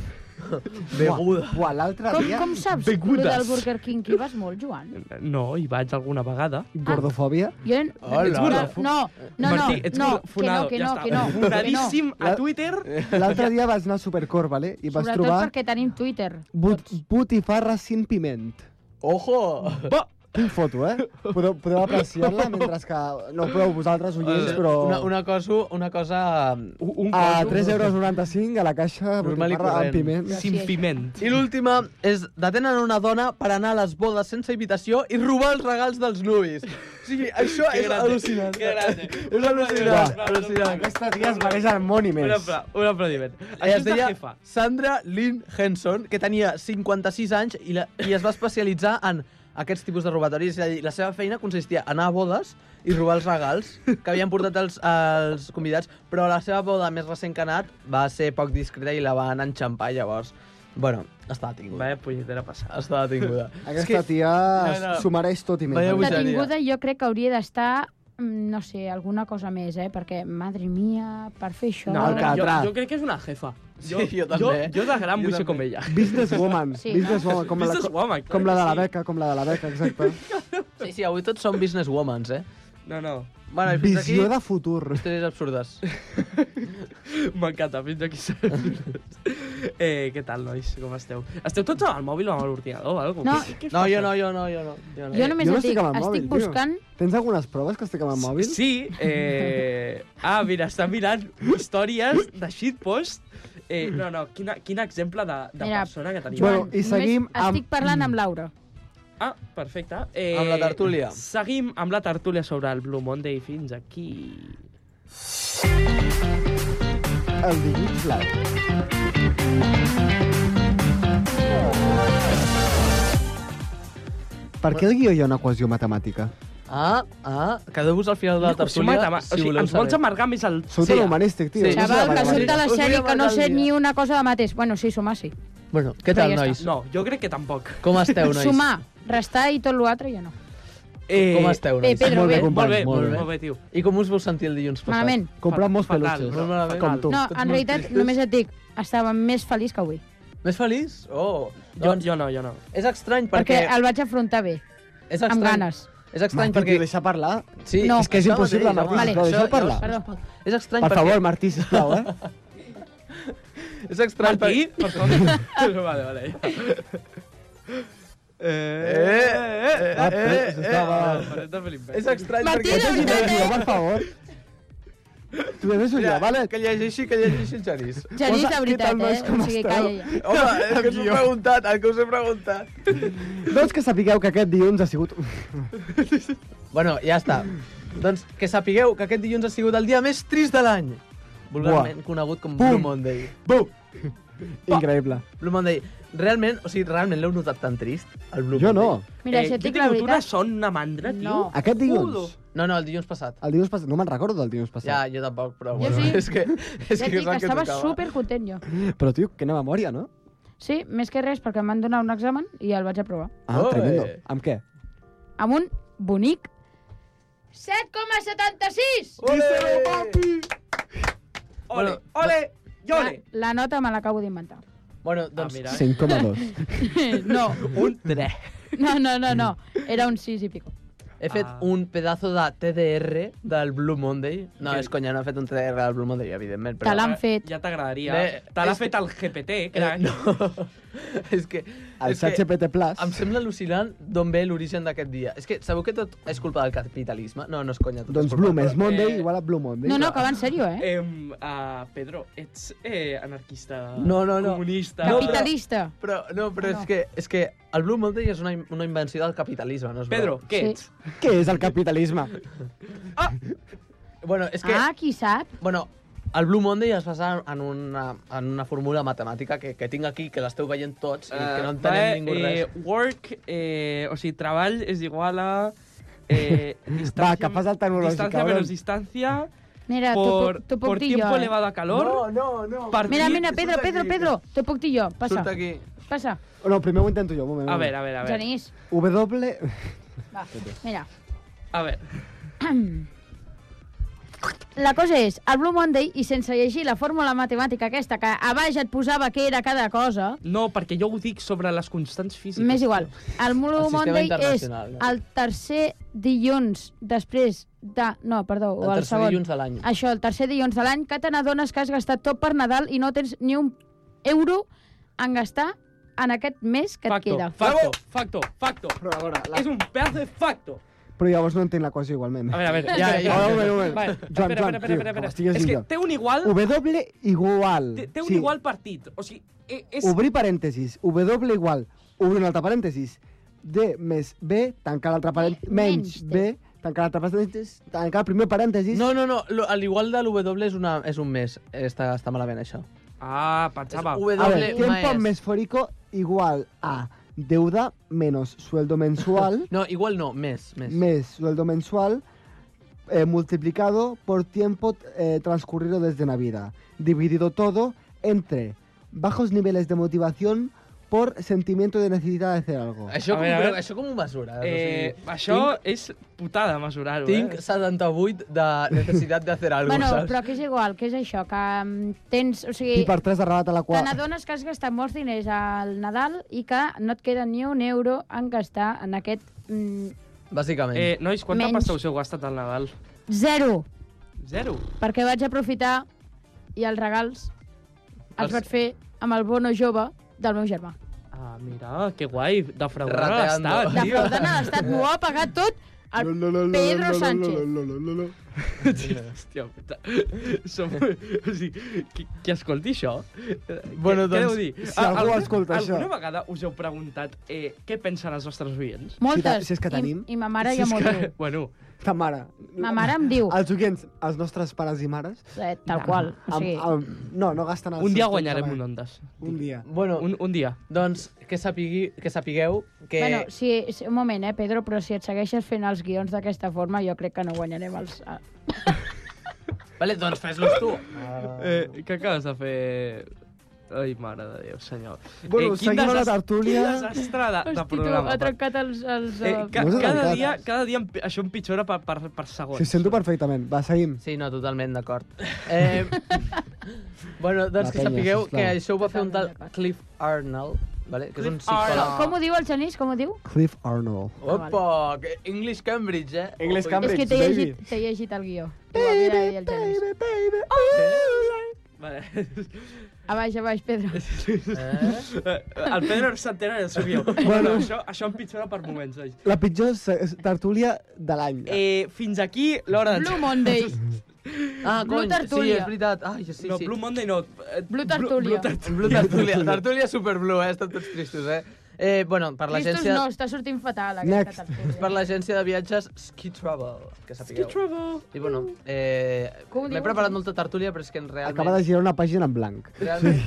[SPEAKER 8] Beguda.
[SPEAKER 5] Buah, l'altre
[SPEAKER 10] Com,
[SPEAKER 5] dia...
[SPEAKER 10] com saps
[SPEAKER 6] Begudes.
[SPEAKER 10] lo del Burger King? Qui vas molt, Joan?
[SPEAKER 6] No, hi vaig alguna vegada.
[SPEAKER 5] Gordofòbia.
[SPEAKER 10] Jo...
[SPEAKER 8] Hola.
[SPEAKER 10] No, no, no,
[SPEAKER 6] Martí, ets
[SPEAKER 10] no, que no,
[SPEAKER 6] funado,
[SPEAKER 10] que
[SPEAKER 6] ja
[SPEAKER 10] no,
[SPEAKER 6] està.
[SPEAKER 10] que no, que no.
[SPEAKER 6] Funadíssim a
[SPEAKER 5] La-
[SPEAKER 6] Twitter.
[SPEAKER 8] Eh.
[SPEAKER 5] L'altre dia vas anar a Supercor, vale? I vas
[SPEAKER 10] Sobretot
[SPEAKER 5] trobar
[SPEAKER 10] perquè tenim Twitter.
[SPEAKER 5] but, botifarra sin piment.
[SPEAKER 8] Ojo!
[SPEAKER 6] Bo,
[SPEAKER 5] Tinc foto, eh? Podeu, podeu apreciar-la mentre que... No podeu vosaltres, oients, però...
[SPEAKER 8] Eh, Una, una cosa... Una cosa... mm.
[SPEAKER 6] un
[SPEAKER 10] Ah,
[SPEAKER 5] A
[SPEAKER 6] coso
[SPEAKER 5] 3,95 euros a la caixa,
[SPEAKER 8] Normal i
[SPEAKER 5] botifarra amb
[SPEAKER 8] corrent.
[SPEAKER 5] piment.
[SPEAKER 6] sin
[SPEAKER 10] Sí.
[SPEAKER 6] piment.
[SPEAKER 8] I l'última és detenen una dona per anar a les bodes sense invitació i robar els regals dels nuvis. O sigui, això
[SPEAKER 6] Que
[SPEAKER 8] és
[SPEAKER 6] grande,
[SPEAKER 8] al·lucinant.
[SPEAKER 6] que grande.
[SPEAKER 8] És al·lucinant,
[SPEAKER 5] Va.
[SPEAKER 8] al·lucinant.
[SPEAKER 5] Aquesta dia es mereix el món i
[SPEAKER 6] Un,
[SPEAKER 5] més.
[SPEAKER 6] apla un aplaudiment.
[SPEAKER 8] Ella
[SPEAKER 6] Això
[SPEAKER 8] es
[SPEAKER 6] és la
[SPEAKER 8] deia
[SPEAKER 6] jefa.
[SPEAKER 8] Sandra Lynn Henson, que tenia 56 anys i, la, i es va especialitzar en aquests tipus de robatoris. És a dir, la seva feina consistia en anar a bodes i robar els regals que havien portat els, els convidats, però la seva boda més recent que ha anat va ser poc discreta i la van enxampar llavors. Bueno, està detinguda.
[SPEAKER 6] Vaya punyetera passada.
[SPEAKER 8] Està detinguda. És
[SPEAKER 5] Aquesta
[SPEAKER 8] que-
[SPEAKER 5] tia
[SPEAKER 8] No, no.
[SPEAKER 5] s'ho mereix tot i més. eh?
[SPEAKER 8] Veieu-
[SPEAKER 5] la veritat.
[SPEAKER 10] Detinguda jo crec que hauria d'estar mm, no sé, alguna cosa més, eh? Perquè, madre mia, per fer això...
[SPEAKER 5] No, el
[SPEAKER 6] jo,
[SPEAKER 5] Alcatraz.
[SPEAKER 6] jo crec que és una jefa.
[SPEAKER 8] Sí, jo també.
[SPEAKER 6] Jo, jo de gran
[SPEAKER 8] Jo
[SPEAKER 6] vull ser
[SPEAKER 8] també.
[SPEAKER 6] com ella.
[SPEAKER 5] Businesswoman.
[SPEAKER 10] Sí,
[SPEAKER 5] Businesswoman, com, la, com,
[SPEAKER 6] Businesswoman, clar
[SPEAKER 5] com la
[SPEAKER 6] que
[SPEAKER 5] de la
[SPEAKER 6] sí.
[SPEAKER 5] beca, com la de la beca, exacte.
[SPEAKER 8] Sí, sí, avui tots som businesswomans, eh?
[SPEAKER 6] No, no.
[SPEAKER 8] Bueno, i fins
[SPEAKER 5] Visió
[SPEAKER 8] aquí...
[SPEAKER 5] de futur.
[SPEAKER 8] Històries absurdes.
[SPEAKER 6] M'encanta, fins aquí. Eh, què tal, nois? Com esteu? Esteu tots al mòbil o amb l'ordinador o alguna
[SPEAKER 10] No.
[SPEAKER 8] No, jo no, jo no, jo no. Jo no.
[SPEAKER 10] Jo només
[SPEAKER 5] jo no
[SPEAKER 10] et dic,
[SPEAKER 5] estic amb el
[SPEAKER 10] estic
[SPEAKER 5] mòbil, tio.
[SPEAKER 10] buscant...
[SPEAKER 5] Tens algunes proves que estic amb el mòbil?
[SPEAKER 6] Sí. Eh... Ah, mira, està mirant històries de shitpost. Eh, no, no, quina, quin exemple de, de
[SPEAKER 10] Mira,
[SPEAKER 6] persona que tenim.
[SPEAKER 5] Bueno,
[SPEAKER 10] Joan,
[SPEAKER 5] i
[SPEAKER 10] només
[SPEAKER 5] seguim amb-
[SPEAKER 10] Estic parlant amb Laura.
[SPEAKER 6] Ah, perfecte. Eh,
[SPEAKER 8] Amb la tertúlia.
[SPEAKER 6] Seguim amb la tertúlia sobre el Blue Monday fins aquí.
[SPEAKER 5] El dilluns blau. Per què el guió hi ha una equació matemàtica?
[SPEAKER 8] Ah, ah, quedeu-vos al final de la
[SPEAKER 6] Una qüestió
[SPEAKER 8] tertúlia,
[SPEAKER 6] matema- o
[SPEAKER 8] si
[SPEAKER 6] sigui,
[SPEAKER 8] voleu
[SPEAKER 6] ens vols
[SPEAKER 8] saber.
[SPEAKER 6] amargar més el...
[SPEAKER 5] Sou
[SPEAKER 8] Sí.
[SPEAKER 5] tan humanístic, tio.
[SPEAKER 8] Sí.
[SPEAKER 5] No sé
[SPEAKER 10] Xaval,
[SPEAKER 5] de
[SPEAKER 10] que soc de la
[SPEAKER 8] Us vull
[SPEAKER 10] sèrie que no
[SPEAKER 8] amargar el
[SPEAKER 10] sé
[SPEAKER 8] dia.
[SPEAKER 10] ni una cosa de mateix. Bueno, sí, sumar sí.
[SPEAKER 8] Bueno, què
[SPEAKER 10] Però
[SPEAKER 8] tal,
[SPEAKER 10] ja
[SPEAKER 8] nois?
[SPEAKER 6] No, jo crec que tampoc.
[SPEAKER 8] Com esteu, nois?
[SPEAKER 10] Sumar, restar i tot l'altre ja no.
[SPEAKER 6] Eh,
[SPEAKER 8] Com esteu,
[SPEAKER 10] Bé,
[SPEAKER 8] nois?
[SPEAKER 10] Pedro,
[SPEAKER 5] Molt bé,
[SPEAKER 10] bé.
[SPEAKER 5] companys,
[SPEAKER 6] Molt bé,
[SPEAKER 5] molt bé.
[SPEAKER 6] molt bé, tio.
[SPEAKER 8] I com us vau sentir el dilluns passat?
[SPEAKER 10] Malament.
[SPEAKER 5] Comprar molts
[SPEAKER 6] Fatal,
[SPEAKER 5] peluixos.
[SPEAKER 6] no,
[SPEAKER 8] Malament.
[SPEAKER 5] Com tu.
[SPEAKER 10] No,
[SPEAKER 8] Tots
[SPEAKER 10] en
[SPEAKER 8] molt
[SPEAKER 10] realitat
[SPEAKER 8] tristos.
[SPEAKER 10] només et dic, estava més feliç que avui.
[SPEAKER 8] Més feliç? Oh,
[SPEAKER 6] Jo,
[SPEAKER 8] doncs
[SPEAKER 6] jo no, jo no.
[SPEAKER 8] és estrany perquè...
[SPEAKER 10] Perquè el vaig afrontar bé,
[SPEAKER 8] és
[SPEAKER 10] amb
[SPEAKER 8] estrany,
[SPEAKER 10] ganes.
[SPEAKER 8] És estrany
[SPEAKER 5] Martí,
[SPEAKER 8] perquè...
[SPEAKER 5] tio, deixa parlar.
[SPEAKER 8] Sí,
[SPEAKER 10] No.
[SPEAKER 5] És que és
[SPEAKER 8] això
[SPEAKER 5] impossible,
[SPEAKER 8] mateix,
[SPEAKER 5] Martí.
[SPEAKER 10] Vale,
[SPEAKER 8] home.
[SPEAKER 5] Vale,
[SPEAKER 8] Això-
[SPEAKER 5] deixeu parlar.
[SPEAKER 10] Perdó.
[SPEAKER 8] És estrany
[SPEAKER 5] Per
[SPEAKER 8] perquè...
[SPEAKER 5] favor, Martí, sisplau, eh?
[SPEAKER 8] És estrany
[SPEAKER 6] Martí, per favor. vale, vale.
[SPEAKER 8] Eh,
[SPEAKER 5] Va, però, sisplau, va, va.
[SPEAKER 6] Mareta Felipe.
[SPEAKER 8] És estrany
[SPEAKER 10] Martí,
[SPEAKER 8] perquè...
[SPEAKER 10] de veritat,
[SPEAKER 5] Jo, per favor. Tu deves un
[SPEAKER 8] Mira,
[SPEAKER 5] jo, vale?
[SPEAKER 8] Que llegeixi, que llegeixi el Genís.
[SPEAKER 10] Genís,
[SPEAKER 5] Posa-
[SPEAKER 10] de
[SPEAKER 5] Què tal,
[SPEAKER 10] veritat,
[SPEAKER 5] nois,
[SPEAKER 10] eh?
[SPEAKER 5] com
[SPEAKER 10] O sigui,
[SPEAKER 5] esteu?
[SPEAKER 10] calla ja.
[SPEAKER 8] Home, el que us he preguntat, el que us he preguntat.
[SPEAKER 5] Doncs que sapigueu que aquest dilluns ha sigut...
[SPEAKER 8] Bueno, ja està. Doncs que sapigueu que aquest dilluns ha sigut el dia més trist de l'any. Vulgarment conegut com Blue
[SPEAKER 5] Bum.
[SPEAKER 8] Monday.
[SPEAKER 5] Bum! Increïble.
[SPEAKER 8] Blue Monday. Realment, o sigui, realment l'heu notat tan trist, el Blue
[SPEAKER 5] Jo no.
[SPEAKER 8] Monday?
[SPEAKER 10] Mira,
[SPEAKER 6] Eh,
[SPEAKER 10] si et dic la
[SPEAKER 6] una
[SPEAKER 10] veritat...
[SPEAKER 6] son, una mandra, tio.
[SPEAKER 10] No.
[SPEAKER 5] Aquest
[SPEAKER 6] Udo.
[SPEAKER 5] dilluns.
[SPEAKER 8] No, no, el dilluns passat.
[SPEAKER 5] El dilluns passat. No me'n recordo del dilluns
[SPEAKER 8] Ja,
[SPEAKER 5] Ah, passat.
[SPEAKER 8] jo tampoc, però
[SPEAKER 10] Jo
[SPEAKER 8] bueno,
[SPEAKER 10] sí.
[SPEAKER 8] és que, és
[SPEAKER 10] Ja et
[SPEAKER 8] que
[SPEAKER 10] dic
[SPEAKER 8] és el
[SPEAKER 10] que
[SPEAKER 8] que
[SPEAKER 10] estava
[SPEAKER 8] tocava.
[SPEAKER 10] super content jo.
[SPEAKER 5] Però, tio, quina memòria, no?
[SPEAKER 10] Sí, més que res, perquè em van donar un examen i el vaig aprovar.
[SPEAKER 5] Ah,
[SPEAKER 8] Oe.
[SPEAKER 5] tremendo. Amb què?
[SPEAKER 10] Amb un bonic 7,76!
[SPEAKER 8] Oh, Ole!
[SPEAKER 6] Ole,
[SPEAKER 8] Bueno,
[SPEAKER 6] ole, i
[SPEAKER 10] La,
[SPEAKER 6] ole.
[SPEAKER 10] la nota me l'acabo d'inventar. Ah,
[SPEAKER 8] Bueno, doncs,
[SPEAKER 6] mira.
[SPEAKER 5] 5,2.
[SPEAKER 10] No,
[SPEAKER 6] Un 3.
[SPEAKER 10] no, no, no, no. Era un 6 i pico.
[SPEAKER 8] he fet
[SPEAKER 6] Ah.
[SPEAKER 8] un pedazo de TDR del Blue Monday. No,
[SPEAKER 6] Què?
[SPEAKER 8] és conya, no he fet un TDR del Blue Monday, evidentment.
[SPEAKER 10] Te
[SPEAKER 8] Però...
[SPEAKER 10] l'han fet.
[SPEAKER 6] Ja t'agradaria.
[SPEAKER 8] Bé,
[SPEAKER 6] Te l'ha
[SPEAKER 8] és que-
[SPEAKER 6] fet el GPT,
[SPEAKER 8] Eh,
[SPEAKER 6] crac.
[SPEAKER 8] no. és que...
[SPEAKER 5] El
[SPEAKER 8] és que
[SPEAKER 5] ChatGPT Plus.
[SPEAKER 8] Em sembla al·lucinant d'on ve l'origen d'aquest dia. És que sabeu que tot és culpa del capitalisme? No, no és conya. Tot
[SPEAKER 5] Doncs
[SPEAKER 8] és culpa
[SPEAKER 5] Bloom, és Monday
[SPEAKER 6] Eh,
[SPEAKER 5] igual a Blue Monday.
[SPEAKER 10] No, no, que va en sèrio, eh?
[SPEAKER 6] Em, ah, Pedro, ets eh, anarquista,
[SPEAKER 8] No, no, no.
[SPEAKER 6] comunista...
[SPEAKER 8] No,
[SPEAKER 10] Capitalista.
[SPEAKER 8] Però, no,
[SPEAKER 5] Ah,
[SPEAKER 8] però
[SPEAKER 10] No.
[SPEAKER 8] és, que, és que el Blue Monday és una, in- una invenció del capitalisme, no és
[SPEAKER 6] Pedro, què
[SPEAKER 10] Sí.
[SPEAKER 6] ets?
[SPEAKER 5] Què és el capitalisme?
[SPEAKER 8] Verdad? Bueno, és que...
[SPEAKER 10] Ah, qui sap?
[SPEAKER 8] Bueno, el Blue Monday es basa en una, en una fórmula matemàtica que, que tinc aquí, que l'esteu veient tots, i que no entenem
[SPEAKER 6] Eh,
[SPEAKER 8] ningú
[SPEAKER 6] eh,
[SPEAKER 8] res.
[SPEAKER 6] Work, eh, o sigui, treball és igual a... Eh,
[SPEAKER 5] Va,
[SPEAKER 6] distància,
[SPEAKER 5] que fas el tecnològic,
[SPEAKER 6] Distancia
[SPEAKER 5] cabrón.
[SPEAKER 6] menos distancia,
[SPEAKER 10] Mira,
[SPEAKER 6] por,
[SPEAKER 10] t'ho puc, t'ho puc
[SPEAKER 6] por
[SPEAKER 10] dir
[SPEAKER 6] tiempo
[SPEAKER 10] jo, eh?
[SPEAKER 6] elevado a calor...
[SPEAKER 8] no, no.
[SPEAKER 6] per
[SPEAKER 10] Mira,
[SPEAKER 6] nit-
[SPEAKER 10] mira, Pedro,
[SPEAKER 8] surt
[SPEAKER 10] Pedro,
[SPEAKER 8] aquí.
[SPEAKER 10] Pedro, t'ho puc dir jo. Passa,
[SPEAKER 8] Surt aquí.
[SPEAKER 10] passa.
[SPEAKER 5] No, primer ho intento jo, un moment.
[SPEAKER 6] A veure, a veure, a veure.
[SPEAKER 10] Genís,
[SPEAKER 5] W...
[SPEAKER 10] va, mira.
[SPEAKER 6] A veure.
[SPEAKER 10] La cosa és, el Blue Monday, i sense llegir la fórmula matemàtica aquesta, que a baix et posava què era cada cosa,
[SPEAKER 6] No, perquè jo ho dic sobre les constants físiques.
[SPEAKER 10] m'és igual. El Blue
[SPEAKER 8] El sistema
[SPEAKER 10] Monday és
[SPEAKER 8] internacional, no?
[SPEAKER 10] el tercer dilluns després de... No, perdó, o
[SPEAKER 8] El
[SPEAKER 10] el,
[SPEAKER 8] tercer
[SPEAKER 10] segon.
[SPEAKER 8] dilluns de l'any.
[SPEAKER 10] Això, el tercer dilluns de l'any, que te n'adones que has gastat tot per Nadal i no tens ni un euro en gastar en aquest mes que et
[SPEAKER 6] Facto,
[SPEAKER 10] queda.
[SPEAKER 6] facto, facto, facto.
[SPEAKER 5] Però a veure, la...
[SPEAKER 6] És un pedazo de facto.
[SPEAKER 5] Però llavors no entenc l'equació igualment.
[SPEAKER 6] A veure, a veure. espera,
[SPEAKER 8] Ja, ja,
[SPEAKER 6] espera,
[SPEAKER 8] ja.
[SPEAKER 5] Moment, moment.
[SPEAKER 6] Vale,
[SPEAKER 5] Joan,
[SPEAKER 6] espera,
[SPEAKER 5] Joan,
[SPEAKER 6] espera, espera,
[SPEAKER 5] tio,
[SPEAKER 6] espera.
[SPEAKER 5] com estigues
[SPEAKER 6] És que
[SPEAKER 5] millor.
[SPEAKER 6] té un igual,
[SPEAKER 5] W igual.
[SPEAKER 6] té, té un igual partit. O sigui, eh, és...
[SPEAKER 5] Obrir parèntesis. W igual. Obrir un altre parèntesis. D més B, tancar l'altre parèntesis. Menys
[SPEAKER 10] Menys
[SPEAKER 5] B, tancar l'altre parèntesis. Tancar el primer parèntesis.
[SPEAKER 8] No, no, no, lo- a l'igual de l'W és, una, és un mes. Està, està malament, això.
[SPEAKER 6] Ah,
[SPEAKER 8] És
[SPEAKER 6] pensava.
[SPEAKER 8] W
[SPEAKER 5] A ver,
[SPEAKER 8] un
[SPEAKER 5] tiempo
[SPEAKER 8] mes.
[SPEAKER 5] mesfórico igual a deuda menos sueldo mensual,
[SPEAKER 8] No, igual no, mes, mes.
[SPEAKER 5] mes sueldo mensual, eh, multiplicado por tiempo eh, transcurrido desde Navidad, dividido todo entre bajos niveles de motivación por sentimiento de necesidad de hacer algo.
[SPEAKER 8] Això,
[SPEAKER 6] A
[SPEAKER 8] com,
[SPEAKER 6] veure, a
[SPEAKER 8] però,
[SPEAKER 6] veure.
[SPEAKER 8] això com ho mesures?
[SPEAKER 6] Eh,
[SPEAKER 8] o sigui,
[SPEAKER 6] això és putada mesurar-ho,
[SPEAKER 8] Tinc
[SPEAKER 6] eh?
[SPEAKER 8] 78 de necessitat de fer alguna
[SPEAKER 10] Bueno,
[SPEAKER 8] cosa, saps?
[SPEAKER 10] però que és igual, que és això, que mm, tens... O sigui,
[SPEAKER 5] Y para tres arrebat a la
[SPEAKER 10] Te
[SPEAKER 5] cual.
[SPEAKER 10] n'adones que has gastat molts diners al Nadal i que no et queda ni un euro en gastar en aquest mm,
[SPEAKER 8] Bàsicament.
[SPEAKER 6] Eh, nois, quanta
[SPEAKER 10] Menys.
[SPEAKER 6] pasta us heu gastat al Nadal?
[SPEAKER 10] zero,
[SPEAKER 6] Zero.
[SPEAKER 10] perquè vaig aprofitar i els regals els,
[SPEAKER 8] Els-
[SPEAKER 10] vaig fer amb el bono jove del meu germà.
[SPEAKER 6] Ah, mira, que guai, defraudant a
[SPEAKER 8] Rateando.
[SPEAKER 6] l'estat.
[SPEAKER 8] Defraudant
[SPEAKER 6] tio.
[SPEAKER 10] Defraudant a l'estat, m'ho ha pagat tot el Pedro Sánchez.
[SPEAKER 6] Hòstia puta. Som... O sigui, qui, qui escolti això? eh,
[SPEAKER 8] Bueno,
[SPEAKER 6] què,
[SPEAKER 8] doncs,
[SPEAKER 6] què deu dir?
[SPEAKER 5] si algú
[SPEAKER 6] Algun-
[SPEAKER 5] escolta això.
[SPEAKER 6] Alguna vegada us heu preguntat eh, què pensen els vostres
[SPEAKER 5] Si
[SPEAKER 6] oients?
[SPEAKER 5] ta-
[SPEAKER 10] Moltes.
[SPEAKER 5] si és que tenim.
[SPEAKER 10] I, i ma mare ja m'ho diu.
[SPEAKER 6] Bueno,
[SPEAKER 5] Ta mare.
[SPEAKER 10] Ma mare em diu,
[SPEAKER 5] Els oients, els nostres pares i mares,
[SPEAKER 10] eh, tal qual. O sigui,
[SPEAKER 5] amb, amb, no, no gasten els
[SPEAKER 6] un dia
[SPEAKER 5] seus temps
[SPEAKER 6] guanyarem
[SPEAKER 5] amb-
[SPEAKER 6] un Ondas.
[SPEAKER 5] Un dia.
[SPEAKER 8] Bueno,
[SPEAKER 6] Un, un dia.
[SPEAKER 8] doncs que, sapigui, que sapigueu que...
[SPEAKER 10] Bueno, si, si, un moment, eh, Pedro, però si et segueixes fent els guions d'aquesta forma, jo crec que no guanyarem els... ah,
[SPEAKER 8] Vale, doncs fes-los tu.
[SPEAKER 5] ah.
[SPEAKER 6] Eh, què acabes de fer... Ai, mare de Déu, senyor. Eh,
[SPEAKER 5] Bueno,
[SPEAKER 6] quin
[SPEAKER 5] seguim a la
[SPEAKER 6] desast-
[SPEAKER 5] tertúlia.
[SPEAKER 6] Quin desastre de, de
[SPEAKER 10] Hosti, tu,
[SPEAKER 6] programa.
[SPEAKER 10] ha trencat els... els
[SPEAKER 6] Eh, ca
[SPEAKER 5] No us ha
[SPEAKER 6] cada,
[SPEAKER 5] trencat.
[SPEAKER 6] dia, cada dia em- això empitjora per, per, per segons.
[SPEAKER 5] Si ho sento perfectament. Va, seguim.
[SPEAKER 8] Sí, no, totalment d'acord. Eh, bueno,
[SPEAKER 5] La
[SPEAKER 8] doncs que
[SPEAKER 5] penya,
[SPEAKER 8] sapigueu
[SPEAKER 5] sisplau.
[SPEAKER 8] que això ho va fer un tal
[SPEAKER 10] Totalment d'acord.
[SPEAKER 8] Cliff Arnold, vale? que és un
[SPEAKER 6] Cliff Arnold.
[SPEAKER 8] psicòleg.
[SPEAKER 10] Com, com ho diu el Genís? Com ho diu?
[SPEAKER 5] Cliff Arnold.
[SPEAKER 8] Opa, que English Cambridge, eh?
[SPEAKER 5] English
[SPEAKER 8] Ui.
[SPEAKER 5] Cambridge.
[SPEAKER 10] Oh, és que t'he
[SPEAKER 5] baby.
[SPEAKER 10] llegit, t'he llegit el guió. Ho havia de dir el Oh! Genís.
[SPEAKER 5] baby.
[SPEAKER 6] Vale.
[SPEAKER 10] A baix, a baix, Pedro.
[SPEAKER 6] Eh? El Pedro no s'entera del seu guió. Bueno, això, això empitjora per moments. nois.
[SPEAKER 5] La pitjor se- és tertúlia de l'any.
[SPEAKER 6] Eh, fins aquí l'hora de...
[SPEAKER 10] Blue Monday.
[SPEAKER 8] Ah,
[SPEAKER 10] Blue
[SPEAKER 8] cony, sí,
[SPEAKER 10] Tertúlia.
[SPEAKER 8] és veritat. Ai, sí,
[SPEAKER 6] No,
[SPEAKER 8] sí.
[SPEAKER 6] Blue Monday no. eh,
[SPEAKER 10] Blue
[SPEAKER 6] Blue
[SPEAKER 10] Tertúlia.
[SPEAKER 6] Tertúlia.
[SPEAKER 8] Blue Tertúlia. Tertúlia superblue, eh? Estan tots tristos, eh? Eh, bueno, per
[SPEAKER 10] Cristos
[SPEAKER 8] l'agència...
[SPEAKER 10] no, està sortint fatal
[SPEAKER 5] Next.
[SPEAKER 10] aquesta
[SPEAKER 8] Per
[SPEAKER 10] tertúlia.
[SPEAKER 8] l'agència de viatges Ski Travel, que sapigueu.
[SPEAKER 6] Trouble.
[SPEAKER 8] I bueno, eh,
[SPEAKER 10] Com ho
[SPEAKER 8] m'he
[SPEAKER 10] diu?
[SPEAKER 8] preparat molta tertúlia, però és que en realment...
[SPEAKER 5] Acaba de girar una pàgina en blanc.
[SPEAKER 8] Realment...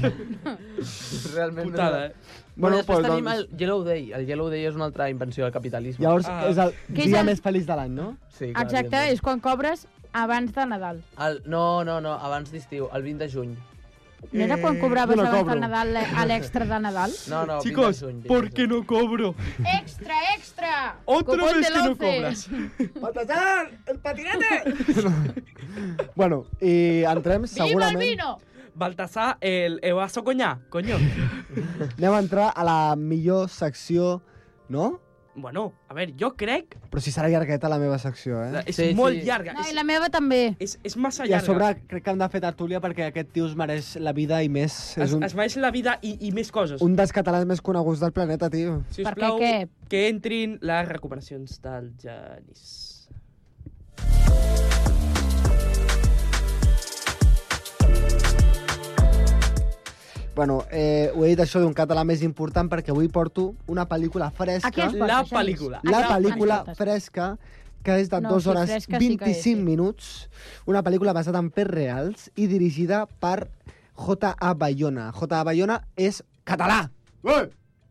[SPEAKER 8] realment...
[SPEAKER 6] Putada, eh?
[SPEAKER 8] Bueno,
[SPEAKER 5] Bueno,
[SPEAKER 8] després
[SPEAKER 5] pues,
[SPEAKER 8] tenim
[SPEAKER 5] doncs-
[SPEAKER 8] el Yellow Day. El Yellow Day és una altra invenció del capitalisme.
[SPEAKER 5] Llavors,
[SPEAKER 6] Ah.
[SPEAKER 5] és el
[SPEAKER 10] Què és
[SPEAKER 5] dia
[SPEAKER 10] el-
[SPEAKER 5] més feliç de l'any, no?
[SPEAKER 8] Sí, clar,
[SPEAKER 10] Exacte,
[SPEAKER 8] evidentment.
[SPEAKER 10] és quan cobres abans de Nadal.
[SPEAKER 6] Eh,
[SPEAKER 8] El, no, no, no, abans d'estiu, el 20 de juny.
[SPEAKER 10] No era quan cobraves
[SPEAKER 5] jo no
[SPEAKER 10] abans
[SPEAKER 5] cobro.
[SPEAKER 10] del Nadal eh, a l'extra de Nadal?
[SPEAKER 8] No, no, 20 de
[SPEAKER 6] Chicos,
[SPEAKER 8] juny. 20 de
[SPEAKER 6] ¿por qué
[SPEAKER 8] juny.
[SPEAKER 6] no cobro?
[SPEAKER 10] Extra, extra!
[SPEAKER 6] Otra
[SPEAKER 10] Cupón
[SPEAKER 6] vez
[SPEAKER 10] del
[SPEAKER 6] que no
[SPEAKER 10] 11.
[SPEAKER 6] cobras.
[SPEAKER 5] Bueno, i entrem
[SPEAKER 10] ¡Viva el
[SPEAKER 5] segurament...
[SPEAKER 10] vino!
[SPEAKER 6] Baltasar, el evaso coñá, coño.
[SPEAKER 5] Anem a entrar a la millor secció, no?
[SPEAKER 6] Bueno, a veure, jo crec...
[SPEAKER 5] Però si serà llargueta la meva secció, eh?
[SPEAKER 6] És
[SPEAKER 8] Sí,
[SPEAKER 6] molt
[SPEAKER 8] sí.
[SPEAKER 6] llarga.
[SPEAKER 10] No, i
[SPEAKER 6] és,
[SPEAKER 10] la meva també.
[SPEAKER 6] és, és massa
[SPEAKER 5] I a
[SPEAKER 6] llarga.
[SPEAKER 5] sobre crec que hem de fer tertúlia perquè aquest tio es mereix la vida i més...
[SPEAKER 6] Es,
[SPEAKER 5] És un,
[SPEAKER 6] es mereix la vida i, i més coses.
[SPEAKER 5] un dels catalans més coneguts del planeta, tio.
[SPEAKER 6] Si us
[SPEAKER 10] Perquè
[SPEAKER 6] plau,
[SPEAKER 10] què?
[SPEAKER 6] que entrin les recomanacions del Genís.
[SPEAKER 5] Bueno, eh, ho he dit això d'un català més important perquè avui porto una pel·lícula fresca.
[SPEAKER 10] A què es porta,
[SPEAKER 6] La
[SPEAKER 10] Genís?
[SPEAKER 6] pel·lícula.
[SPEAKER 5] La
[SPEAKER 10] A què
[SPEAKER 5] pel·lícula
[SPEAKER 10] ens portes?
[SPEAKER 5] fresca, que és de
[SPEAKER 10] No,
[SPEAKER 5] 2
[SPEAKER 10] sí,
[SPEAKER 5] hores
[SPEAKER 10] fresca sí
[SPEAKER 5] 25
[SPEAKER 10] que és, sí.
[SPEAKER 5] minuts, una pel·lícula basada en fets reals i dirigida per J.A. Bayona. J.A. Bayona és català!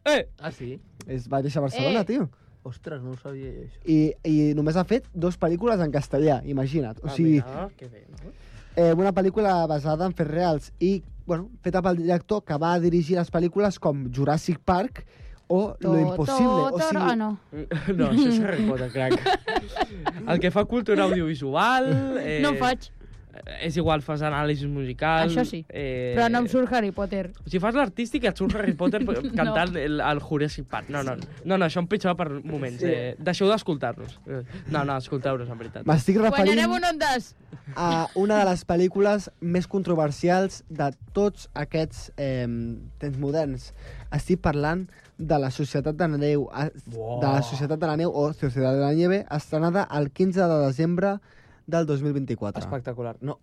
[SPEAKER 6] Eh!
[SPEAKER 8] Ah, sí?
[SPEAKER 5] És, va néixer a Barcelona,
[SPEAKER 10] Eh.
[SPEAKER 5] tio.
[SPEAKER 8] Ostres, no ho sabia jo, això.
[SPEAKER 5] I, I només ha fet dos pel·lícules en castellà, imagina't. O
[SPEAKER 6] Ah,
[SPEAKER 5] sigui,
[SPEAKER 6] mira, que bé, no?
[SPEAKER 5] eh, una pel·lícula basada en fets reals i, bueno, feta pel director que va dirigir les pel·lícules com Jurassic Park o
[SPEAKER 10] To-
[SPEAKER 5] Lo Imposible.
[SPEAKER 10] to-
[SPEAKER 5] O
[SPEAKER 10] to- Ah,
[SPEAKER 5] sigui,
[SPEAKER 10] no.
[SPEAKER 6] No, això és Harry Potter, crac. El que fa cultura audiovisual... Eh,
[SPEAKER 10] No ho faig,
[SPEAKER 6] És igual, fas anàlisi musical...
[SPEAKER 10] Això sí.
[SPEAKER 6] Eh,
[SPEAKER 10] però no em surt Harry Potter.
[SPEAKER 6] Si fas l'artístic et surt Harry Potter cantant el, el Jurassic Park. No, no, no, no això em pitjava per moments. Eh, deixeu d'escoltar-nos. No, no, escolteu-nos, en veritat.
[SPEAKER 5] m'estic referint...
[SPEAKER 10] Guanyarem un ondes!
[SPEAKER 5] a una de les pel·lícules més controversials de tots aquests eh, temps moderns. Estic parlant de la Societat de la Neu, a- de la Societat de la Neu o Societat de la Nieve, estrenada el 15 de desembre del 2024.
[SPEAKER 8] Espectacular. No.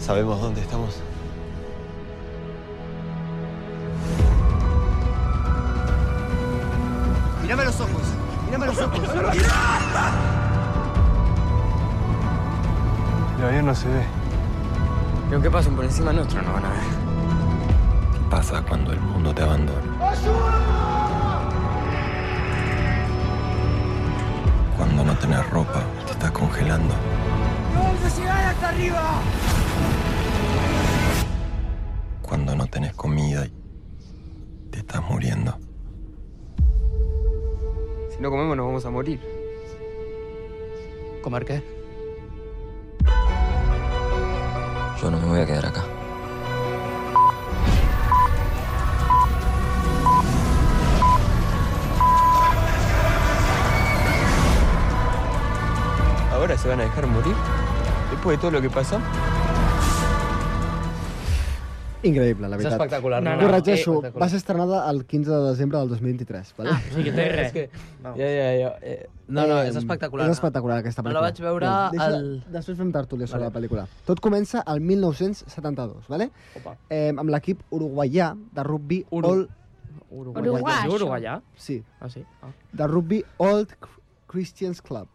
[SPEAKER 11] ¿Sabemos dónde estamos?
[SPEAKER 9] Mírame los ojos. Mírame los ojos.
[SPEAKER 11] La bien no se ve.
[SPEAKER 9] Lo que pasen por encima nuestro no van a ver.
[SPEAKER 11] ¿Qué pasa cuando el mundo te abandona? Cuando no tenés ropa, te estás congelando.
[SPEAKER 9] ¡No vamos a llegar hasta arriba!
[SPEAKER 11] Cuando no tenés comida, te estás muriendo.
[SPEAKER 12] Si no comemos nos vamos a morir. ¿Comer qué?
[SPEAKER 13] Yo no me voy a quedar acá.
[SPEAKER 12] ¿Ahora se van a dejar morir? Después de todo lo que pasó.
[SPEAKER 5] Increïble, la
[SPEAKER 8] És
[SPEAKER 5] veritat.
[SPEAKER 6] eh,
[SPEAKER 8] espectacular, no, no,
[SPEAKER 5] Corregeixo,
[SPEAKER 8] espectacular.
[SPEAKER 5] va ser estrenada el 15 de desembre del 2023. Vale? Ah,
[SPEAKER 8] sí que té res. És que- Ja, ja, ja. Eh, no, no, és espectacular.
[SPEAKER 5] És espectacular, aquesta
[SPEAKER 8] Me
[SPEAKER 5] pel·lícula.
[SPEAKER 8] la vaig veure
[SPEAKER 5] Bueno, deixa-
[SPEAKER 8] al-
[SPEAKER 5] Després fem tertúlia sobre
[SPEAKER 8] Vale.
[SPEAKER 5] vale. la pel·lícula. Tot comença al 1972, vale? Eh, amb l'equip uruguaià de rugby Uru. All...
[SPEAKER 6] Uruguai. Uruguaià?
[SPEAKER 5] Sí.
[SPEAKER 6] Ah, sí? Ah.
[SPEAKER 5] De rugby Old Christians Club,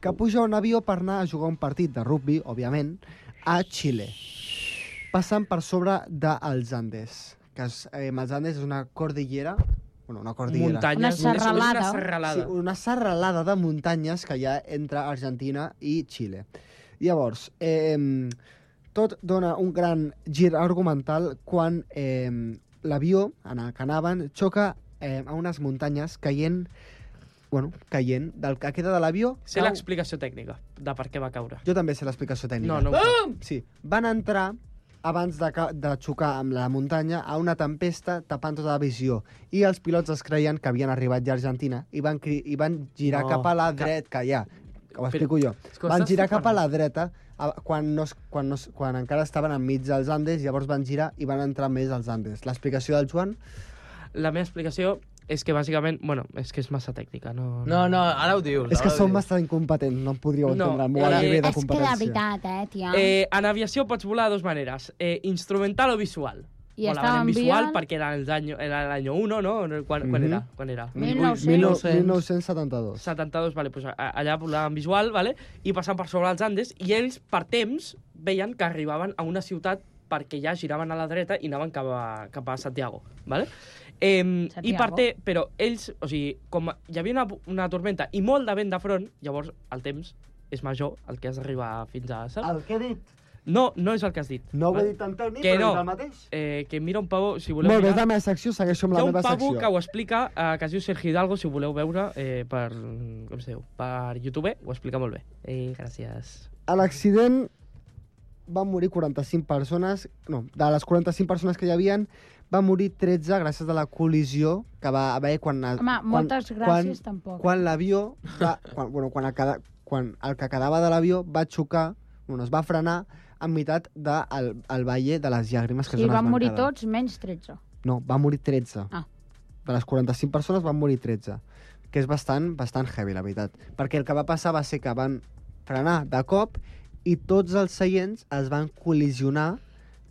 [SPEAKER 5] que puja a un avió per anar a jugar un partit de rugby, òbviament, a Xile, passant per sobre dels Andes, que és, eh, els Andes és una cordillera bueno, una cordillera.
[SPEAKER 6] Muntanyes. Una serralada. Una serralada.
[SPEAKER 5] Sí, una serralada de muntanyes que hi ha entre Argentina i Xile. Llavors, eh, tot dona un gran gir argumental quan eh, l'avió en el que anaven xoca eh, a unes muntanyes caient bueno, caient del que queda de l'avió
[SPEAKER 6] Sé
[SPEAKER 5] cau-
[SPEAKER 6] l'explicació tècnica de per què va caure.
[SPEAKER 5] jo també sé l'explicació tècnica.
[SPEAKER 6] No, no ho sé.
[SPEAKER 5] Sí. Van entrar abans de, ca- de xocar amb la muntanya a una tempesta tapant tota la visió i els pilots es creien que havien arribat ja a Argentina i van, cri- i van girar
[SPEAKER 12] No,
[SPEAKER 5] no, cap a la
[SPEAKER 12] que-
[SPEAKER 5] dreta, que ja, ho explico jo.
[SPEAKER 12] és que ho
[SPEAKER 5] Van
[SPEAKER 12] estàs
[SPEAKER 5] girar cap a
[SPEAKER 12] superant.
[SPEAKER 5] la dreta a- quan, no, es- quan, no, es- quan encara estaven enmig dels Andes, llavors van girar i van entrar més als Andes. L'explicació del Joan...
[SPEAKER 6] La meva explicació és que bàsicament... Bueno, és que és massa tècnica, no...
[SPEAKER 8] No, no, ara ho dius.
[SPEAKER 5] És que
[SPEAKER 8] ara ho
[SPEAKER 5] som
[SPEAKER 8] dius.
[SPEAKER 5] massa incompetents, no em podríeu
[SPEAKER 6] No,
[SPEAKER 5] entendre. No,
[SPEAKER 6] eh,
[SPEAKER 5] eh, nivell de
[SPEAKER 6] és que la
[SPEAKER 5] competència.
[SPEAKER 10] veritat, eh, tia.
[SPEAKER 6] Eh, en aviació pots volar de dues maneres, eh, instrumental o visual.
[SPEAKER 10] I
[SPEAKER 6] Volaven en
[SPEAKER 10] estaven
[SPEAKER 6] visual
[SPEAKER 10] bien.
[SPEAKER 6] perquè era el año, era l'any 1, no? No, Quan, quan
[SPEAKER 5] Mhm.
[SPEAKER 6] era? Quan era?
[SPEAKER 5] 1972.
[SPEAKER 6] 72, vale, pues a- allà volaven visual, vale? i passant per sobre els Andes, i ells, per temps, veien que arribaven a una ciutat perquè ja giraven a la dreta i anaven cap a, cap a Santiago. Vale? Eh, I per
[SPEAKER 14] Santiago.
[SPEAKER 6] té, però ells, o sigui, com hi havia una, una tormenta i molt de vent de front, llavors el temps és major el que has d'arribar fins a... Saps?
[SPEAKER 9] El que he dit.
[SPEAKER 6] No, no és el que has dit.
[SPEAKER 5] Ah. No ho he
[SPEAKER 6] vale?
[SPEAKER 5] dit en Toni,
[SPEAKER 6] que
[SPEAKER 5] però és el
[SPEAKER 6] no,
[SPEAKER 5] mateix.
[SPEAKER 6] eh, que mira un pavo, si voleu
[SPEAKER 5] Molt bé, és
[SPEAKER 6] mirar...
[SPEAKER 5] la meva secció, segueixo amb
[SPEAKER 6] Hi
[SPEAKER 5] la
[SPEAKER 6] ha un
[SPEAKER 5] meva
[SPEAKER 6] pavo
[SPEAKER 5] secció.
[SPEAKER 6] que ho explica, eh, que es diu Sergi Hidalgo, si ho voleu veure eh, per, com es diu, per YouTube, ho explica molt bé. Eh, gràcies.
[SPEAKER 5] A l'accident van morir 45 persones, no, de les 45 persones que hi havien, van morir 13 gràcies a la col·lisió que va haver quan...
[SPEAKER 10] Home,
[SPEAKER 5] quan,
[SPEAKER 10] moltes gràcies
[SPEAKER 5] quan,
[SPEAKER 10] tampoc.
[SPEAKER 5] Quan l'avió... va- Quan, bueno, quan, el, queda- quan el que quedava de l'avió va xocar, bueno, es va frenar en meitat del de, el, el Valle de les Llàgrimes, que
[SPEAKER 10] I
[SPEAKER 5] és on es
[SPEAKER 10] van morir
[SPEAKER 5] quedar.
[SPEAKER 10] tots menys 13.
[SPEAKER 5] No, va morir 13.
[SPEAKER 10] Ah.
[SPEAKER 5] De les 45 persones van morir 13, que és bastant, bastant heavy, la veritat. Perquè el que va passar va ser que van frenar de cop i tots els seients es van col·lisionar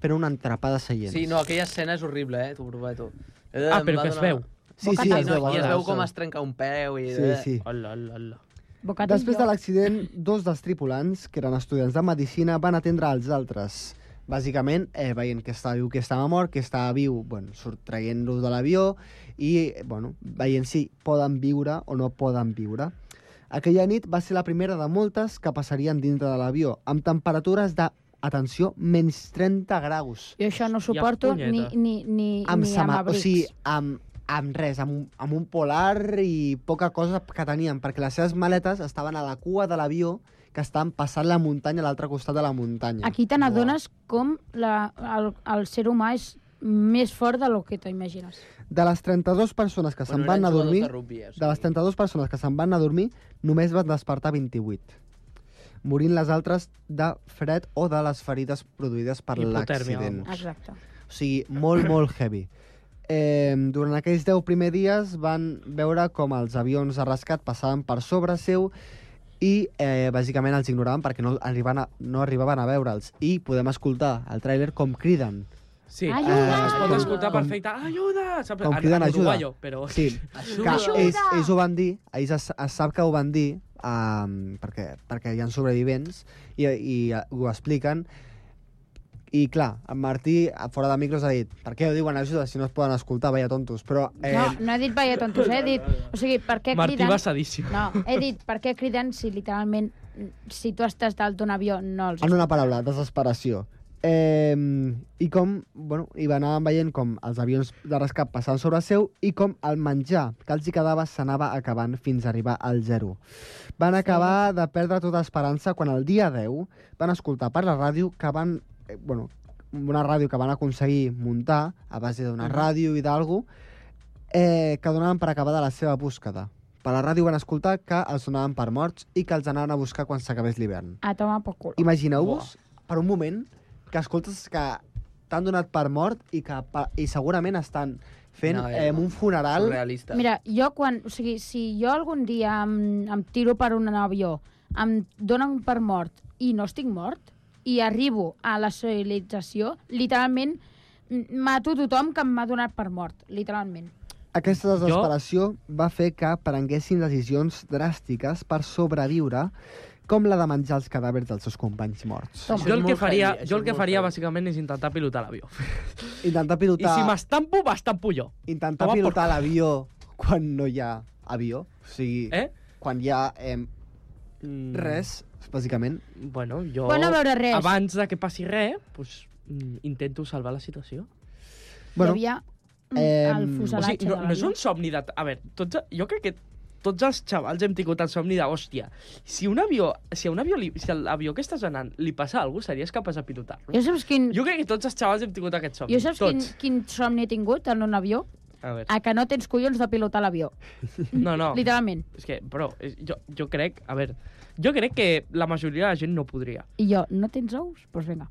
[SPEAKER 5] per una entrapa de seients.
[SPEAKER 8] Sí, no, aquella escena és horrible, eh, t'ho prometo.
[SPEAKER 5] Ah, però que es veu. Sí, sí, es veu,
[SPEAKER 8] I es
[SPEAKER 5] es
[SPEAKER 8] veu
[SPEAKER 5] veu.
[SPEAKER 8] com es trenca un peu i...
[SPEAKER 5] Sí, sí.
[SPEAKER 6] Hola, hola, hola.
[SPEAKER 10] Bocadillo.
[SPEAKER 5] Després de l'accident, dos dels tripulants, que eren estudiants de medicina, van atendre els altres. Bàsicament, eh, veient que estava viu, que estava mort, que estava viu, bueno, surt traient-lo de l'avió i, eh, bueno, veient si poden viure o no poden viure. Aquella nit va ser la primera de moltes que passarien dintre de l'avió, amb temperatures de, atenció, menys 30 graus.
[SPEAKER 10] Jo això no ho suporto ni, ni, ni,
[SPEAKER 5] Amb,
[SPEAKER 10] ni amb
[SPEAKER 5] sama- o
[SPEAKER 10] abrics.
[SPEAKER 5] sigui, amb, amb res, amb, un- amb un polar i poca cosa que tenien, perquè les seves maletes estaven a la cua de l'avió que estaven passant la muntanya a l'altre costat de la muntanya.
[SPEAKER 10] Aquí te n'adones com la, el, el ser humà és més fort de lo que t'imagines.
[SPEAKER 5] De les 32 persones que se'n
[SPEAKER 10] Bueno,
[SPEAKER 5] van
[SPEAKER 10] eren
[SPEAKER 5] a
[SPEAKER 10] jugadors
[SPEAKER 5] dormir,
[SPEAKER 10] de rugbi, eh, o
[SPEAKER 5] de les 32 persones que se'n van a dormir, només van despertar 28 morint les altres de fred o de les ferides produïdes per
[SPEAKER 6] Hipotèrmia,
[SPEAKER 5] l'accident.
[SPEAKER 6] vamos.
[SPEAKER 10] Exacte.
[SPEAKER 5] O sigui, molt, molt heavy. Eh, durant aquells 10 primers dies van veure com els avions de rescat passaven per sobre seu i eh, bàsicament els ignoraven perquè no, arribaven a, no arribaven a veure'ls. I podem escoltar al tràiler com criden.
[SPEAKER 6] Sí,
[SPEAKER 5] Ajuda!
[SPEAKER 6] Eh, es pot escoltar
[SPEAKER 5] Com-
[SPEAKER 6] perfecte. Ajuda! Saps?
[SPEAKER 5] Com
[SPEAKER 6] En-
[SPEAKER 5] criden
[SPEAKER 6] en
[SPEAKER 5] ajuda.
[SPEAKER 6] uruguaio, però...
[SPEAKER 5] Sí,
[SPEAKER 6] Ajuda!
[SPEAKER 5] que ells, ells ho van dir, ells es, es sap que ho van dir, um, perquè, perquè hi ha sobrevivents, i, i eh, ho expliquen, I clar, en Martí, a- fora de micros, ha dit per què ho diuen ajuda si no es poden escoltar, veia tontos. Però eh,
[SPEAKER 10] No, no he dit vaya tontos, eh? he dit... O sigui, per què
[SPEAKER 5] Martí
[SPEAKER 10] criden...
[SPEAKER 5] va sadíssim.
[SPEAKER 10] No, he dit per què criden si literalment si tu estàs dalt d'un avió no els...
[SPEAKER 5] en una paraula, desesperació. Eh, I com, bueno, hi va anar veient com els avions de rescat passaven sobre seu i com el menjar que els hi quedava s'anava acabant fins a arribar al zero. Van acabar de perdre tota esperança quan el dia 10 van escoltar per la ràdio que van... Eh, bueno, una ràdio que van aconseguir muntar a base d'una ràdio i d'algú eh, que donaven per acabada la seva búsqueda. Per la ràdio van escoltar que els donaven per morts i que els anaven a buscar quan s'acabés l'hivern.
[SPEAKER 10] A tomar por culo.
[SPEAKER 5] Imagineu-vos, per un moment, que escoltes que t'han donat per mort i que pa- i segurament estan fent
[SPEAKER 8] No,
[SPEAKER 5] no,
[SPEAKER 8] eh,
[SPEAKER 5] eh, un funeral...
[SPEAKER 8] surrealista.
[SPEAKER 10] Mira, jo quan... O sigui, si jo algun dia em, em tiro per un avió, em donen per mort i no estic mort, i arribo a la civilització, literalment m- mato tothom que m'ha donat per mort, literalment.
[SPEAKER 5] Aquesta desesperació jo... va fer que prenguessin decisions dràstiques per sobreviure, com la de menjar els cadàvers dels seus companys morts.
[SPEAKER 6] Jo el que faria, jo el que faria bàsicament, és intentar pilotar l'avió.
[SPEAKER 5] Intentar
[SPEAKER 6] I
[SPEAKER 5] pilotar...
[SPEAKER 6] si m'estampo, m'estampo jo.
[SPEAKER 5] Intentar
[SPEAKER 6] Toma por
[SPEAKER 5] pilotar
[SPEAKER 6] culo.
[SPEAKER 5] l'avió quan no hi ha avió, o sigui, eh? quan hi ha eh, res, bàsicament.
[SPEAKER 6] Mm, Bueno, jo...
[SPEAKER 10] Bueno, a veure, res.
[SPEAKER 6] Abans de que passi res, doncs, mm, intento salvar la situació.
[SPEAKER 10] Bueno, Hi havia mm, el fuselatge
[SPEAKER 6] eh, o sigui, no,
[SPEAKER 10] de
[SPEAKER 6] no és
[SPEAKER 10] l'avió.
[SPEAKER 6] un somni de... A veure, tots, jo crec que tots els xavals hem tingut el somni de, hòstia, si un avió, si a un avió, li, si a l'avió que estàs anant li passa alguna cosa, series capaç de pilotar-lo.
[SPEAKER 10] Jo saps quin...
[SPEAKER 6] Jo crec que tots els xavals hem tingut aquest somni.
[SPEAKER 10] Jo saps quin,
[SPEAKER 6] tots.
[SPEAKER 10] quin somni he tingut en un avió?
[SPEAKER 6] A veure.
[SPEAKER 10] A que no tens collons de pilotar l'avió.
[SPEAKER 6] No, no.
[SPEAKER 10] Literalment.
[SPEAKER 6] És que, bro, és- jo, jo crec... A veure, jo crec que la majoria de la gent no podria.
[SPEAKER 10] I jo, no tens ous? Doncs pues vinga.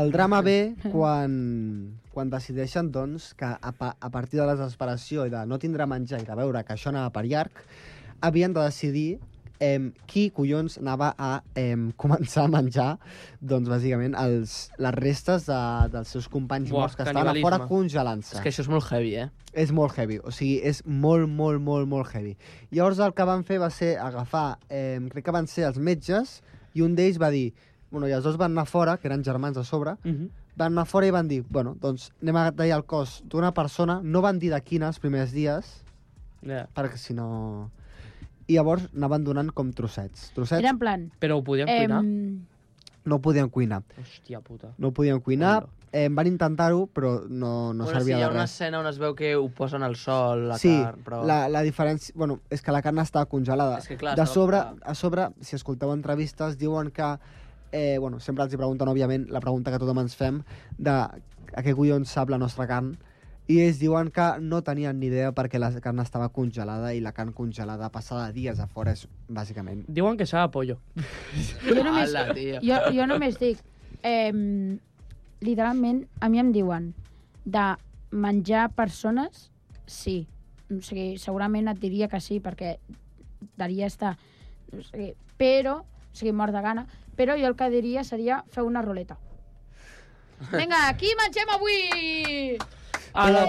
[SPEAKER 5] El drama ve quan, quan decideixen, doncs, que a, pa, a partir de la desesperació i de no tindre menjar i de veure que això anava per llarg, havien de decidir eh, qui, collons, anava a eh, començar a menjar, doncs, bàsicament, els, les restes de, dels seus companys
[SPEAKER 8] Buah,
[SPEAKER 5] morts que estaven a fora
[SPEAKER 8] canibalisme.
[SPEAKER 5] congelant-se.
[SPEAKER 8] És que això és molt heavy, eh?
[SPEAKER 5] És molt heavy, o sigui, és molt, molt, molt, molt heavy. Llavors el que van fer va ser agafar, eh, crec que van ser els metges, i un d'ells va dir... Bueno, i els dos van anar fora, que eren germans a sobre, uh
[SPEAKER 6] -huh.
[SPEAKER 5] van anar fora i van dir, bueno, doncs anem a tallar el cos d'una persona, no van dir de quina els primers dies,
[SPEAKER 6] Yeah.
[SPEAKER 5] perquè si no... I llavors anaven donant com trossets. trossets
[SPEAKER 10] Era en plan...
[SPEAKER 6] Però ho podien cuinar?
[SPEAKER 10] Em,
[SPEAKER 5] No podien cuinar.
[SPEAKER 6] Hòstia puta.
[SPEAKER 5] No podien cuinar, eh, van intentar-ho, però no, no
[SPEAKER 8] bueno, sí,
[SPEAKER 5] servia
[SPEAKER 8] hi ha
[SPEAKER 5] de
[SPEAKER 8] una
[SPEAKER 5] res.
[SPEAKER 8] escena on es veu que ho posen al sol, la
[SPEAKER 5] sí,
[SPEAKER 8] carn, però...
[SPEAKER 5] la, la diferència... Bueno, és que la carn estava congelada.
[SPEAKER 8] És que, clar,
[SPEAKER 5] de
[SPEAKER 8] estava
[SPEAKER 5] sobre, a sobre, si escolteu entrevistes, diuen que... Eh, bueno, sempre els hi pregunten, òbviament, la pregunta que tothom ens fem de a què collons sap la nostra carn. I ells diuen que no tenien ni idea perquè la carn estava congelada i la carn congelada passada dies a fora és, bàsicament...
[SPEAKER 6] Diuen que s'ha de pollo.
[SPEAKER 10] Jo només, jo, jo només dic... Eh, literalment, a mi em diuen de menjar persones, sí. O sigui, segurament et diria que sí, perquè daria estar... O sigui, però, o sigui, mort de gana, però jo el que diria seria fer una ruleta. Vinga, aquí mengem avui!
[SPEAKER 8] Ah,
[SPEAKER 6] A la,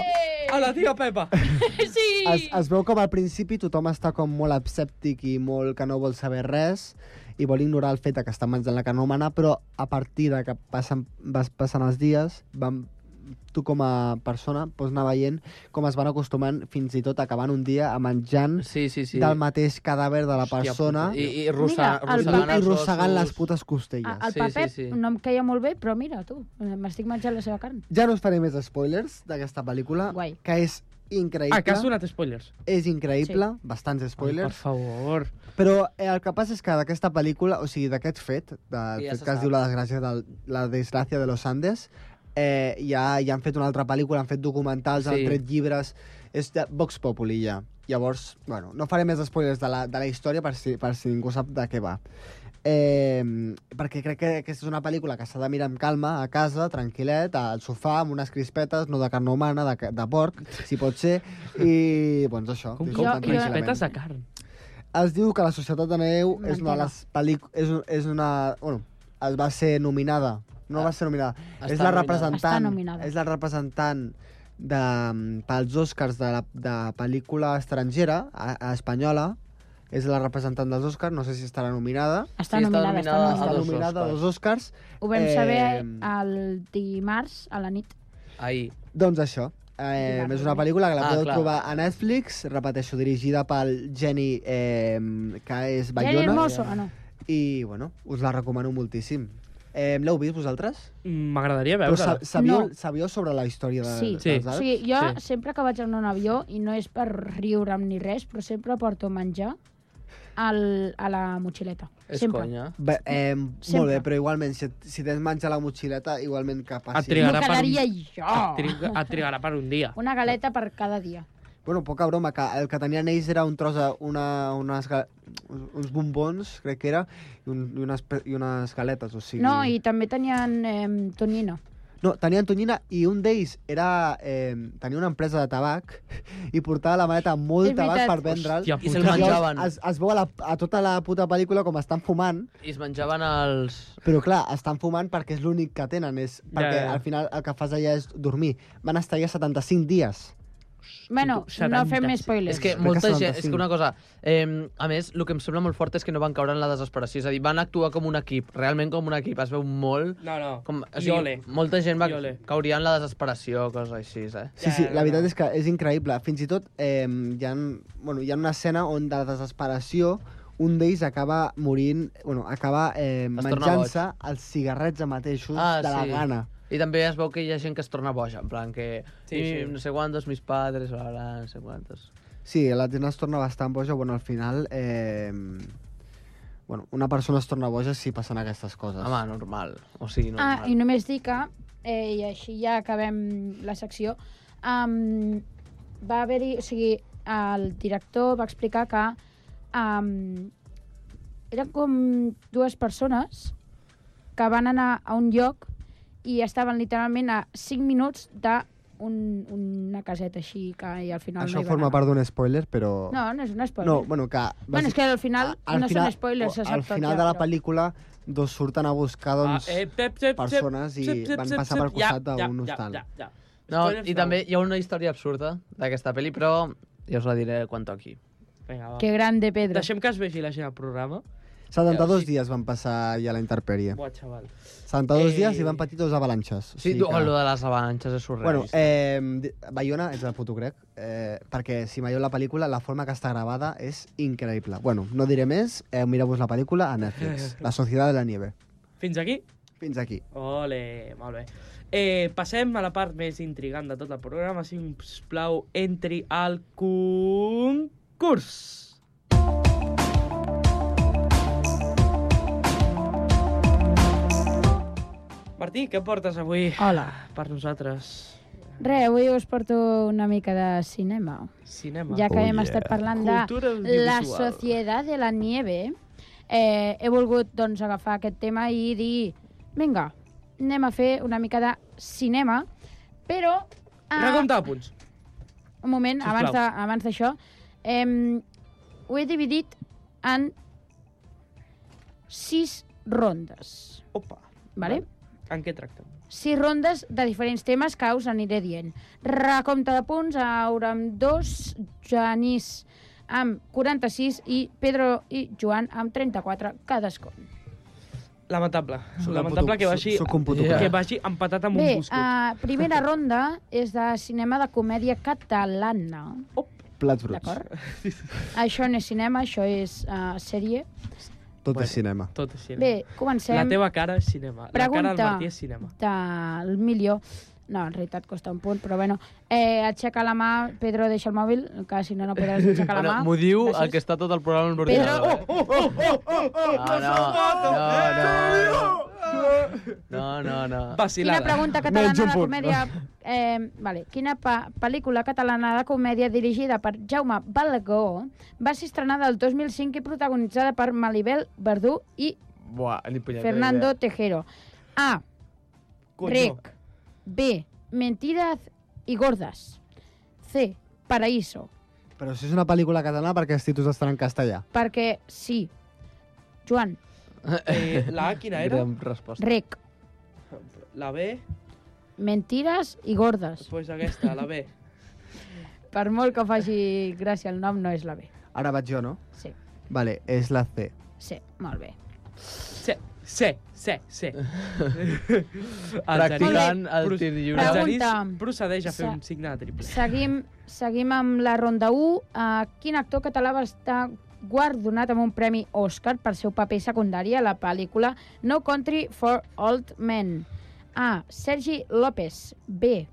[SPEAKER 6] a la tia Pepa.
[SPEAKER 10] Eh! Sí!
[SPEAKER 5] es, es veu com al principi tothom està com molt escèptic i molt que no vol saber res i vol ignorar el fet de que està menjant la que no mana, però a partir de que passen, vas passant els dies, van, tu com a persona pots anar veient com es van acostumant fins i tot acabant un dia a menjant
[SPEAKER 8] sí, sí, sí.
[SPEAKER 5] del mateix cadàver de la persona
[SPEAKER 8] puta, I- i rossegant-
[SPEAKER 10] Mira, el
[SPEAKER 5] i
[SPEAKER 10] rossegant els
[SPEAKER 5] rossegant
[SPEAKER 10] ossos.
[SPEAKER 5] les putes costelles.
[SPEAKER 10] El paper sí, sí, sí. no em queia molt bé, però mira, tu, m'estic menjant la seva carn.
[SPEAKER 5] Ja no us faré més spoilers d'aquesta pel·lícula,
[SPEAKER 10] Guai.
[SPEAKER 5] que és increïble.
[SPEAKER 6] Ah, que has donat spoilers.
[SPEAKER 5] És increïble, sí. bastants spoilers.
[SPEAKER 6] Ai, per favor.
[SPEAKER 5] Però eh, el que passa és que d'aquesta pel·lícula, o sigui, d'aquest fet, del
[SPEAKER 6] Sí, ja
[SPEAKER 5] fet
[SPEAKER 6] se
[SPEAKER 5] que es
[SPEAKER 6] sap.
[SPEAKER 5] diu la desgràcia, del, la desgràcia de los Andes, eh, ja, ja han fet una altra pel·lícula, han fet documentals, sí.
[SPEAKER 8] Sí.
[SPEAKER 5] han tret llibres... És de Vox Populi, ja. Llavors, bueno, no faré més spoilers de la, de la història per si, per si ningú sap de què va. Eh, perquè crec que aquesta és una pel·lícula que s'ha de mirar amb calma, a casa, tranquil·let, al sofà, amb unes crispetes, no de carn humana, de, ca- de porc, si pot ser, i, doncs, això.
[SPEAKER 6] Com, com,
[SPEAKER 5] disfrutar
[SPEAKER 6] com
[SPEAKER 5] tranquil·lament.
[SPEAKER 6] crispetes de carn.
[SPEAKER 5] Es diu que La societat de neu és una de
[SPEAKER 6] Mentida.
[SPEAKER 5] les pel·lícules... És, un- és una... Bueno, es va ser nominada. No va ser nominada.
[SPEAKER 8] Està
[SPEAKER 5] és la
[SPEAKER 8] nominada.
[SPEAKER 10] Està
[SPEAKER 5] representant...
[SPEAKER 10] nominada.
[SPEAKER 5] És la representant de, pels Oscars de, la, de pel·lícula estrangera, a, a espanyola, és la representant dels Oscars, no sé si estarà nominada.
[SPEAKER 10] Està Sí, està nominada, està nominada a
[SPEAKER 5] Està
[SPEAKER 10] dos
[SPEAKER 5] nominada a
[SPEAKER 10] Ah, Oscars.
[SPEAKER 5] dos Oscars.
[SPEAKER 10] Ho vam
[SPEAKER 5] Eh,
[SPEAKER 10] saber el dimarts a la nit.
[SPEAKER 8] Ahir.
[SPEAKER 5] Doncs això. Eh,
[SPEAKER 10] Dimarts,
[SPEAKER 5] és una pel·lícula que la
[SPEAKER 10] Ah,
[SPEAKER 5] podeu
[SPEAKER 10] clar.
[SPEAKER 5] trobar a Netflix, repeteixo, dirigida pel Jenny, eh, que és Bayona.
[SPEAKER 10] Jenny Hermoso, ah, no.
[SPEAKER 5] I, bueno, us la recomano moltíssim. Eh, L'heu vist vosaltres?
[SPEAKER 6] M'agradaria
[SPEAKER 5] Però
[SPEAKER 6] veure-la.
[SPEAKER 5] sa- sabíeu,
[SPEAKER 10] No.
[SPEAKER 5] sabíeu sobre la història de,
[SPEAKER 10] Sí,
[SPEAKER 5] dels
[SPEAKER 10] o
[SPEAKER 5] Alps?
[SPEAKER 10] sigui, jo sempre que vaig en un avió, i no és per riure'm ni res, però sempre porto menjar al, a la motxileta. sempre.
[SPEAKER 5] Bé, eh, molt
[SPEAKER 10] Sempre.
[SPEAKER 5] bé, però igualment, si, si tens menjar a la motxileta, igualment que passi.
[SPEAKER 6] Et trigarà, per
[SPEAKER 10] quedaria
[SPEAKER 6] un... et,
[SPEAKER 10] jo.
[SPEAKER 6] triga... et trigarà per un dia.
[SPEAKER 10] Una galeta per cada dia.
[SPEAKER 5] Bueno, poca broma, que el que tenien ells era un tros de... Una, unes, ga- uns bombons, crec que era, i, un, i, unes, pe- i unes galetes, o sigui...
[SPEAKER 10] No, i també tenien eh, tonyina.
[SPEAKER 5] No, tenien tonyina i un d'ells era... Eh, tenia una empresa de tabac i portava la maleta amb molt
[SPEAKER 10] És
[SPEAKER 5] tabac
[SPEAKER 10] veritat.
[SPEAKER 5] per vendre'l.
[SPEAKER 8] Hòstia I se'l puta. menjaven.
[SPEAKER 5] Es, es veu a, la, a tota la puta pel·lícula com estan fumant,
[SPEAKER 8] I es menjaven els...
[SPEAKER 5] però clar, estan fumant perquè és l'únic que tenen, és perquè
[SPEAKER 8] ja, ja.
[SPEAKER 5] al final el que fas allà és dormir. Van estar allà 75 dies.
[SPEAKER 10] Bueno, no fem spoilers.
[SPEAKER 8] És que
[SPEAKER 5] Crec que
[SPEAKER 8] molta gent...
[SPEAKER 5] 75.
[SPEAKER 8] És que una cosa... Eh, a més, el que em sembla molt fort és que no van caure en la desesperació. És a dir, van actuar com un equip, realment com un equip. Es veu molt...
[SPEAKER 6] No, no.
[SPEAKER 8] Com, o
[SPEAKER 6] I
[SPEAKER 8] sigui,
[SPEAKER 6] ole.
[SPEAKER 8] molta gent va,
[SPEAKER 6] I ole.
[SPEAKER 8] cauria en la desesperació, coses així, eh?
[SPEAKER 5] Sí, sí, la veritat és que és increïble. Fins i tot eh, hi, ha, bueno, hi ha una escena on de desesperació un d'ells acaba morint, bueno, acaba eh,
[SPEAKER 8] Es torna Ah,
[SPEAKER 5] menjant-se els cigarrets mateixos de la gana.
[SPEAKER 8] I també es veu que hi ha gent que es torna boja, en plan que...
[SPEAKER 6] Sí,
[SPEAKER 8] Sí, sí.
[SPEAKER 6] sí.
[SPEAKER 8] No sé quantos, mis padres, bla, bla, no sé quantos...
[SPEAKER 5] Sí, la gent es torna bastant boja, bueno, al final... Eh, bueno, una persona es torna boja si passen aquestes coses.
[SPEAKER 8] Home, normal. O sigui,
[SPEAKER 10] Ah, i només dir que, eh, i així ja acabem la secció, um, va haver-hi... O sigui, el director va explicar que um, eren com dues persones que van anar a un lloc i estaven literalment a 5 minuts d'un una caseta així que i al final
[SPEAKER 5] Això
[SPEAKER 10] no hi van
[SPEAKER 5] forma
[SPEAKER 10] anar.
[SPEAKER 5] part d'un spoiler, però...
[SPEAKER 10] No, no és un spoiler.
[SPEAKER 5] No, bueno, que...
[SPEAKER 10] bueno, és que al final
[SPEAKER 5] al
[SPEAKER 10] no
[SPEAKER 5] final-
[SPEAKER 10] són spoilers, se
[SPEAKER 5] Al
[SPEAKER 10] sap tot
[SPEAKER 5] final
[SPEAKER 10] ja,
[SPEAKER 5] de la
[SPEAKER 10] però-
[SPEAKER 5] pel·lícula, dos surten a buscar, doncs,
[SPEAKER 8] eh, pep, pep,
[SPEAKER 5] persones i
[SPEAKER 8] pep, pep,
[SPEAKER 5] van
[SPEAKER 8] pep,
[SPEAKER 5] passar per
[SPEAKER 8] pep,
[SPEAKER 5] costat
[SPEAKER 8] ja,
[SPEAKER 5] d'un
[SPEAKER 8] ja,
[SPEAKER 5] hostal.
[SPEAKER 8] ja, ja. No, i també hi ha una història absurda d'aquesta pel·li, però ja us la diré quan toqui.
[SPEAKER 6] Vinga, va.
[SPEAKER 10] Que grande, Pedro.
[SPEAKER 6] Deixem que es vegi la gent al programa.
[SPEAKER 5] 72 dies van passar ja a la intempèrie.
[SPEAKER 6] Buah, xaval.
[SPEAKER 5] 72
[SPEAKER 6] Eh.
[SPEAKER 5] dies i van patir dos avalanxes.
[SPEAKER 8] Sí, sí que... lo de les avalanxes és surreal.
[SPEAKER 5] Bueno, eh, di- Bayona és el puto grec, eh, perquè si veieu la pel·lícula, la forma que està gravada és increïble. Bueno, no diré més, eh, mireu-vos la pel·lícula a Netflix, La Sociedad de la Nieve.
[SPEAKER 6] Fins aquí?
[SPEAKER 5] Fins aquí.
[SPEAKER 6] Ole, molt bé. Eh, passem a la part més intrigant de tot el programa. Si us plau, entri al concurs. Martí, què portes avui
[SPEAKER 10] Hola.
[SPEAKER 6] per nosaltres?
[SPEAKER 10] Re, avui us porto una mica de cinema.
[SPEAKER 6] Cinema.
[SPEAKER 10] Ja que hem estat parlant
[SPEAKER 6] Oh, Cultura
[SPEAKER 10] de la
[SPEAKER 6] audiovisual.
[SPEAKER 10] societat de la nieve, eh, he volgut doncs, agafar aquest tema i dir vinga, anem a fer una mica de cinema, però... ah,
[SPEAKER 6] Recompte de punts.
[SPEAKER 10] un moment,
[SPEAKER 6] Sisplau.
[SPEAKER 10] abans de- abans d'això. Eh, ho he dividit en sis rondes.
[SPEAKER 6] Opa.
[SPEAKER 10] Vale?
[SPEAKER 6] En què tractem?
[SPEAKER 10] sis rondes de diferents temes que us aniré dient. Recompte de punts, Aura amb 2, Janís amb 46 i Pedro i Joan amb 34 cadascun.
[SPEAKER 6] Lamentable.
[SPEAKER 5] Soc un
[SPEAKER 6] Lamentable
[SPEAKER 5] puto-
[SPEAKER 6] que vagi,
[SPEAKER 5] soc- soc un puto
[SPEAKER 6] que
[SPEAKER 5] crac.
[SPEAKER 6] vagi empatat amb
[SPEAKER 10] Bé,
[SPEAKER 6] un buscut.
[SPEAKER 10] uh, primera ronda és de cinema de comèdia catalana.
[SPEAKER 5] Plats bruts.
[SPEAKER 10] D'acord. Això no és cinema, això és uh, sèrie.
[SPEAKER 5] Tot bueno, és cinema.
[SPEAKER 6] Tot és cinema.
[SPEAKER 10] Bé, comencem.
[SPEAKER 6] La teva cara és cinema. La cara del
[SPEAKER 10] Pregunta.
[SPEAKER 6] Martí és cinema.
[SPEAKER 10] del milió. No, en realitat costa un punt, però bueno. Eh, aixeca la mà, Pedro, deixa el mòbil, que si no, no podràs aixecar la
[SPEAKER 8] Bueno,
[SPEAKER 10] mà.
[SPEAKER 8] m'ho diu el que està tot el programa en
[SPEAKER 10] Pedro,
[SPEAKER 8] l'ordinador.
[SPEAKER 10] oh, oh, oh, oh, oh,
[SPEAKER 8] Ah, no, no, no, no, no.
[SPEAKER 10] oh. Quina pregunta catalana de comèdia... Eh, vale. Quina pa pel·lícula catalana de comèdia dirigida per Jaume Balagó va ser estrenada el 2005 i protagonitzada per Malibel Verdú i
[SPEAKER 8] Buah, ni punyetera
[SPEAKER 10] Fernando
[SPEAKER 8] idea.
[SPEAKER 10] Tejero. A.
[SPEAKER 8] Coño.
[SPEAKER 10] Rec. B. Mentiras y gordas. C. Paraíso.
[SPEAKER 5] Però si és una pel·lícula catalana, perquè els títols estan en castellà.
[SPEAKER 10] Perquè sí. Joan,
[SPEAKER 6] Eh, la A quina era?
[SPEAKER 8] Gran resposta.
[SPEAKER 10] rec.
[SPEAKER 6] La B,
[SPEAKER 10] Mentiras i gordes.
[SPEAKER 6] pues aquesta, la B.
[SPEAKER 10] Per molt que faci gràcia el nom, no és la B.
[SPEAKER 5] Ara vaig jo, no?
[SPEAKER 10] Sí.
[SPEAKER 5] Vale, es la C.
[SPEAKER 10] Sí, molt bé.
[SPEAKER 6] Sí, sí, sí, sí.
[SPEAKER 8] Practicant el tir lliure.
[SPEAKER 10] Pregunta.
[SPEAKER 6] procedeix a fer
[SPEAKER 10] Se-
[SPEAKER 6] un signe de triple.
[SPEAKER 10] Seguim, seguim amb la ronda 1. Uh, quin actor català va estar guardonat amb un premi Oscar pel seu paper secundari a la pel·lícula No Country for Old Men? A. Sergi López. B.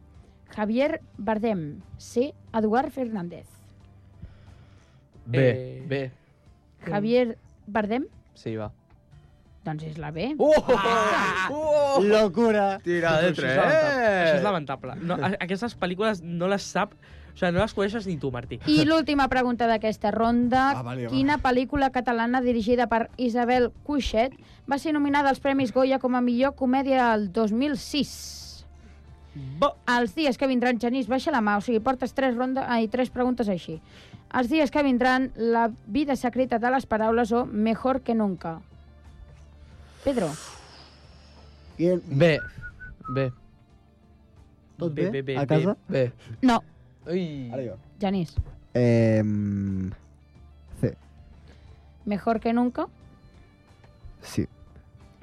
[SPEAKER 10] Javier Bardem. C. Eduard Fernández.
[SPEAKER 8] B,
[SPEAKER 6] Eh,
[SPEAKER 8] B.
[SPEAKER 10] Javier Bardem?
[SPEAKER 8] Sí, va.
[SPEAKER 10] Doncs és la B.
[SPEAKER 8] Uh!
[SPEAKER 5] Oh!
[SPEAKER 10] Ah!
[SPEAKER 5] Locura.
[SPEAKER 8] Tira de
[SPEAKER 6] Això és
[SPEAKER 8] tres.
[SPEAKER 6] lamentable. Això és lamentable. No, a- aquestes pel·lícules no les sap... O sigui, no les coneixes ni tu, Martí.
[SPEAKER 10] I l'última pregunta d'aquesta ronda.
[SPEAKER 6] Ah, vale, va.
[SPEAKER 10] Quina pel·lícula catalana dirigida per Isabel Cuixet va ser nominada als Premis Goya com a millor comèdia el 2006?
[SPEAKER 6] Bo.
[SPEAKER 10] Els dies que vindran, Genís, baixa la mà, o sigui, portes tres, ronda, ai, tres preguntes així. Els dies que vindran, la vida secreta de les paraules o mejor que nunca. Pedro,
[SPEAKER 8] B. B.
[SPEAKER 5] Tot
[SPEAKER 8] B,
[SPEAKER 5] bé?
[SPEAKER 8] B, B,
[SPEAKER 5] A casa?
[SPEAKER 8] B.
[SPEAKER 10] No.
[SPEAKER 8] Ui. Ara
[SPEAKER 5] jo.
[SPEAKER 10] Genís,
[SPEAKER 5] Eh,
[SPEAKER 10] mejor que nunca?
[SPEAKER 5] sí.